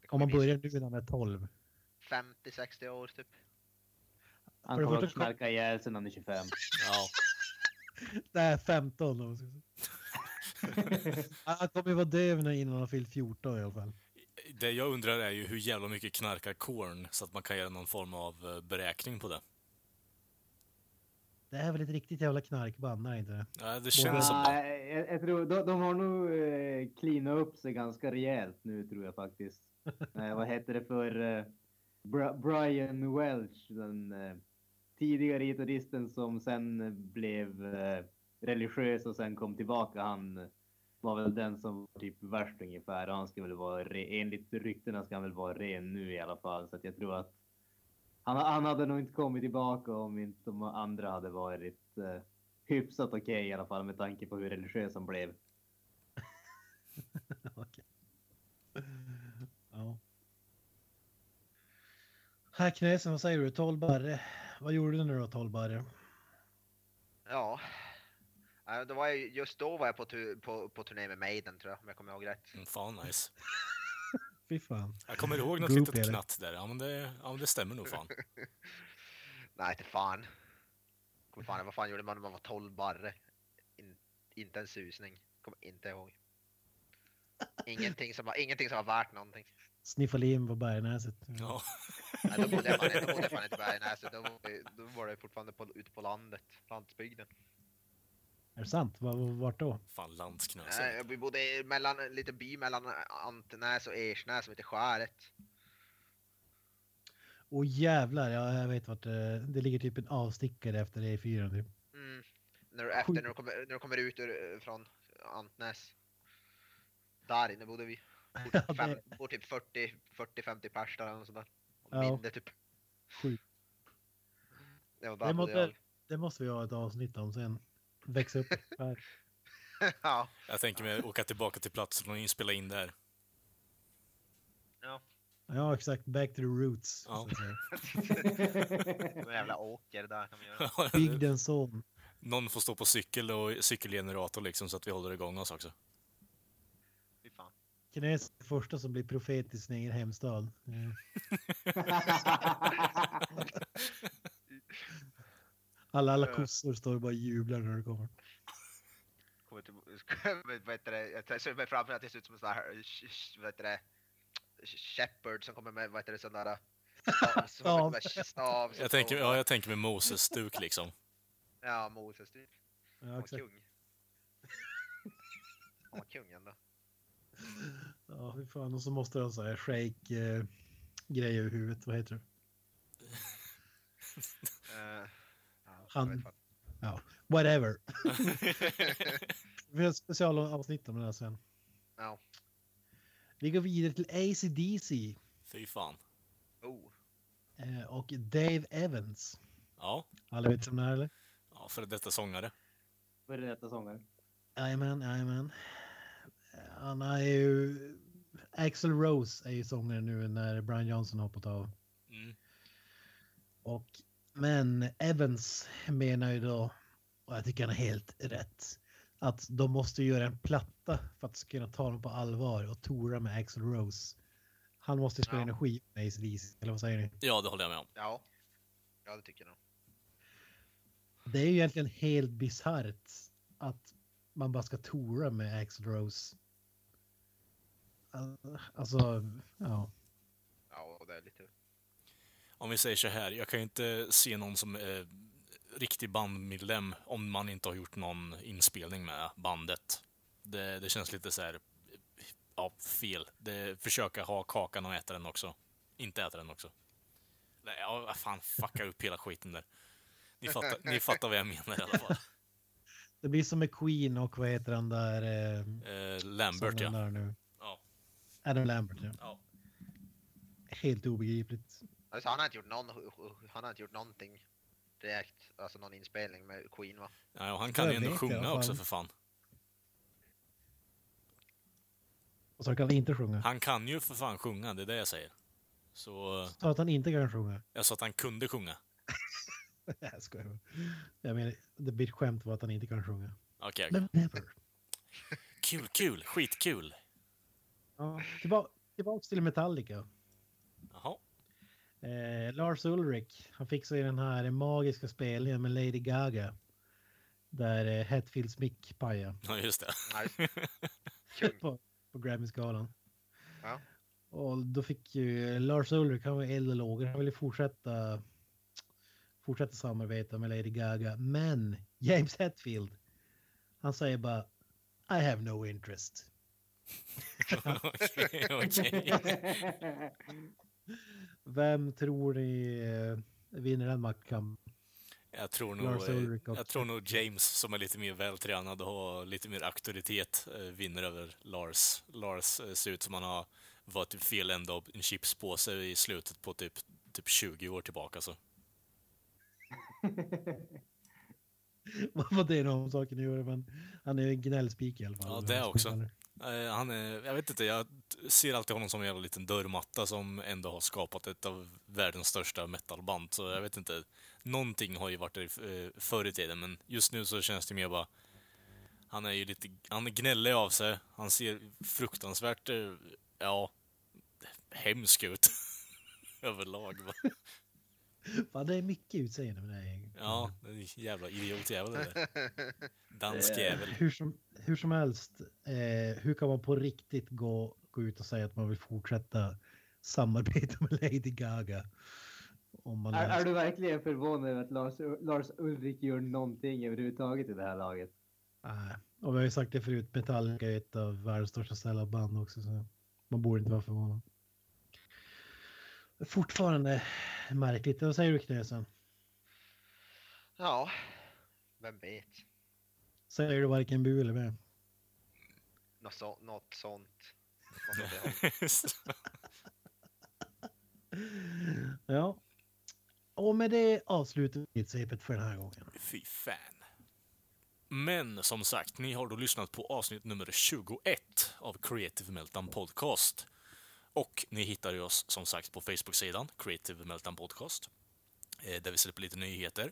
D: Om
C: kommer
D: man
C: bli
D: börjar nu när han är 12.
C: 50-60 år typ.
D: För
B: Han
D: det
B: kommer att
D: första-
B: knarka ihjäl sig när han är 25.
A: ja.
D: Nej, 15 om man ska säga. Han kommer ju vara döv när- innan han har fyllt 14 i alla fall.
A: Det jag undrar är ju hur jävla mycket knarkar Korn så att man kan göra någon form av eh, beräkning på det.
D: Det är väl ett riktigt jävla knarkband, är det inte det?
A: Ja, det
D: Ja.
A: känns som det.
B: Nej, jag, jag tror, de, de har nog eh, cleanat upp sig ganska rejält nu tror jag faktiskt. Nej, vad heter det för eh, Bra- Brian Welch, den eh, tidigare gitarristen som sen blev eh, religiös och sen kom tillbaka. Han var väl den som var typ värst ungefär. Han ska väl vara re- enligt ryktena ska han väl vara ren nu i alla fall. Så att jag tror att han, han hade nog inte kommit tillbaka om inte de andra hade varit eh, hyfsat okej i alla fall med tanke på hur religiös han blev.
D: Okej. Ja. Här Knösen, vad säger du? 12 barre. Vad gjorde du nu då, 12 barre?
C: Ja. Ja, Det var ju, just då var jag på, tu, på, på turné med Maiden tror jag, om jag kommer ihåg rätt.
A: Mm, Fan nice.
D: Fy fan.
A: Jag kommer ihåg något
D: Group,
A: litet
D: eller?
A: knatt där. Ja men, det, ja, men det stämmer nog fan.
C: Nej, inte fan. Kommer fan. Vad fan gjorde man när man var 12 barre? In, inte en susning. Kommer inte ihåg. Ingenting som, var, ingenting som var värt någonting.
D: sniffa lim på bergnäset.
A: Ja.
C: Nej, då bodde jag fan inte, då bodde jag fan inte i Bergnäset. Då, var det- då var det fortfarande på, ute på landet, landsbygden.
D: Är det sant? Var- Vart då?
A: Fan, landsknösare.
C: Nej, vi bodde i- mellan en liten by mellan Antenäs och Ersnäs som heter Skäret.
D: Åh jävlar, ja, jag vet vart det, det ligger typ en avstickare efter E4. Typ.
C: Mm. När du, efter,
D: Sjukt.
C: när, du kommer, när du kommer ut ur, eh, från Antnäs. Där inne bodde vi.
D: Ja, det
C: Fem,
D: är
C: bor typ 40, 40-50 pers där eller något sånt där.
D: Ja.
C: Mindre typ.
D: sjukt.
C: Det var där
D: Det
C: bodde
D: måste,
C: jag.
D: det måste vi ha ett avsnitt om sen. Växa upp. Här.
C: ja.
A: Jag tänker mig åka tillbaka till platsen och spela in där.
D: Ja exakt, back to the roots.
A: Ja.
D: så att säga.
C: De jävla åker där kan vi göra.
D: Bygdens son.
A: Någon får stå på cykel och cykelgenerator liksom så att vi håller igång oss också.
C: Fy fan.
D: Kines är första som blir profet i sin egen hemstad. Ja. Alla, alla kossor står och bara jublar när du kommer.
C: Kommer till, kommer- vad heter det, jag ser mig framför mig att det ser ut som en sån här, eh, sh- sh- vad heter det, sh- shepherd som kommer med, vad heter det, sån där eh, stav. som kommer med stav som
A: Jag tänker,
C: står-
A: ja, jag tänker mig Moses-stuk liksom.
C: Ja, Moses. Du,
D: Ja,
C: han var
D: exakt.
C: kung. Han var kung ändå.
D: Ja, fy fan. Och så måste de så här shake eh, grejer över huvudet. Vad heter det?
C: Eh, ja,
D: Han-
C: jag vet fan.
D: Ja, whatever. Vi har ett specialavsnitt om det här sen.
C: Ja.
D: Vi går vidare till ACDC
A: Fy fan.
C: Oh,
D: eh, och Dave Evans.
A: Ja,
D: Alla vet vem det är eller?
A: ja för detta sångare.
B: Före detta sångare.
D: Jajamän, jajamän. Han är ju... Axel Rose är ju sångare nu när Brian Johnson har hoppat av.
A: Mm.
D: Och, men Evans menar ju då, och jag tycker han är helt rätt, att de måste göra en platta för att kunna ta dem på allvar och tora med Axel Rose. Han måste spela
C: Ja.
D: in en skiva med ACDC, eller vad säger ni?
A: Ja, det håller jag med om.
C: ja. Ja, det tycker jag nog.
D: Det är ju egentligen helt bisarrt att man bara ska tora med Axel Rose. Al- Alltså, ja.
C: Ja, och det är lite...
A: Om vi säger så här, jag kan ju inte se någon som är riktig bandmedlem om man inte har gjort någon inspelning med bandet. Det, det känns lite så här, ja, fel. Det, försöka ha kakan och äta den också. Inte äta den också. Nej, ja, fan, fucka upp hela skiten där. Ni fattar, ni fattar vad jag menar i alla fall.
D: Det blir som med Queen och vad heter han där? Eh,
A: Eh,
D: som
A: Lambert,
D: den
A: ja.
D: där nu.
A: Ja.
D: Adam Lambert, ja.
A: ja.
D: Helt obegripligt.
C: Alltså, han har inte gjort någon, han har inte gjort någonting direkt, alltså någon inspelning med Queen va?
A: Ja, och han kan ju
D: Jag
A: ändå
D: vet i alla
A: sjunga
D: fall.
A: också för fan.
D: Och så kan han inte sjunga.
A: Han kan ju för fan sjunga, det är det jag säger. Så eh,
D: Så att han inte kan sjunga.
A: jag sa att han kunde sjunga.
D: Jag skojar bara. Jag menar, det blir ett skämt var att han inte kan sjunga.
A: Okej, okej.
D: Men never.
A: Kul, kul, skitkul.
D: Ja. Tillbaka, tillbaks till Metallica.
A: Jaha.
D: Eh, Lars Ulrich, han fick sig den här magiska spelningen med Lady Gaga. Där eh, Hetfields mick pajade.
A: Ja, just det.
C: Nej. Kung.
D: på, på Grammy-skalan.
C: Mm. Ja.
D: Och då fick ju Lars Ulrich, han var eld och lågor, han ville fortsätta fortsätta samarbeta med Lady Gaga. Men James Hetfield, han säger bara I have no interest.
A: Okej, okej.
D: Vem tror ni eh, vinner den maktkampen?
A: Jag tror
D: Lars Ulrich
A: nog, eh,
D: också.
A: jag tror nog James, som är lite mer vältränad och har lite mer auktoritet, eh, vinner över Lars. Lars eh, ser ut som han har varit i fel ända av en chipspåse i slutet på typ, typ 20 år tillbaka. Så.
D: Vad var det nu om saken att göra? Men han är ju en gnällspik i alla fall.
A: Ja, det också. Eh, Han är, jag vet inte, jag t- ser alltid honom som en jävla liten dörrmatta som ändå har skapat ett av världens största metalband. Så jag vet inte, någonting har ju varit där i- eh, förr i tiden, men just nu så känns det mer bara... Han är ju lite, han är gnällig av sig. Han ser fruktansvärt, eh, ja, hemsk ut. Överlag. Va?
D: Fan, det är mycket utseende med det här
A: Ja, det är en jävla idiotjävel det där. Dansk jävel.
D: Hur som, hur som helst, eh, hur kan man på riktigt gå, gå ut och säga att man vill fortsätta samarbete med Lady Gaga. Om man
B: Är,
D: läser-
B: är du verkligen förvånad över att Lars, Lars Ulrik gör någonting överhuvudtaget i det här laget?
D: Nej. Och vi har ju sagt det förut, Metallica är ett av världens största snälla band också. Så man borde inte vara förvånad. Fortfarande märkligt. Vad säger du Knösen?
C: Ja, vem vet.
D: Säger du varken bu eller bä?
C: Något, så, något sånt. Något åt det hållet.
D: Ja. Och med det avslutar vi svepet för den här gången.
A: Fy fan. Men som sagt, ni har då lyssnat på avsnitt nummer 21 av Creative Meltdown Podcast. Och ni hittar ju oss som sagt på Facebook-sidan Creative Meltdown Podcast. eh, Där vi släpper lite nyheter,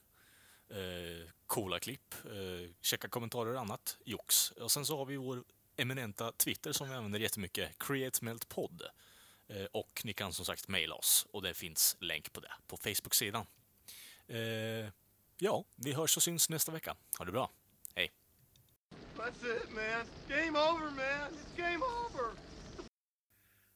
A: eh, coola klipp, eh, checka kommentarer och annat jox. Och sen så har vi vår eminenta Twitter som vi använder jättemycket, CreateMeltPod. Eh, Och ni kan som sagt mejla oss och det finns länk på det på Facebook-sidan. Eh, Ja, vi hörs och syns nästa vecka. Ha det bra. Hej.
F: That's it, man. Game over, man. It's game over.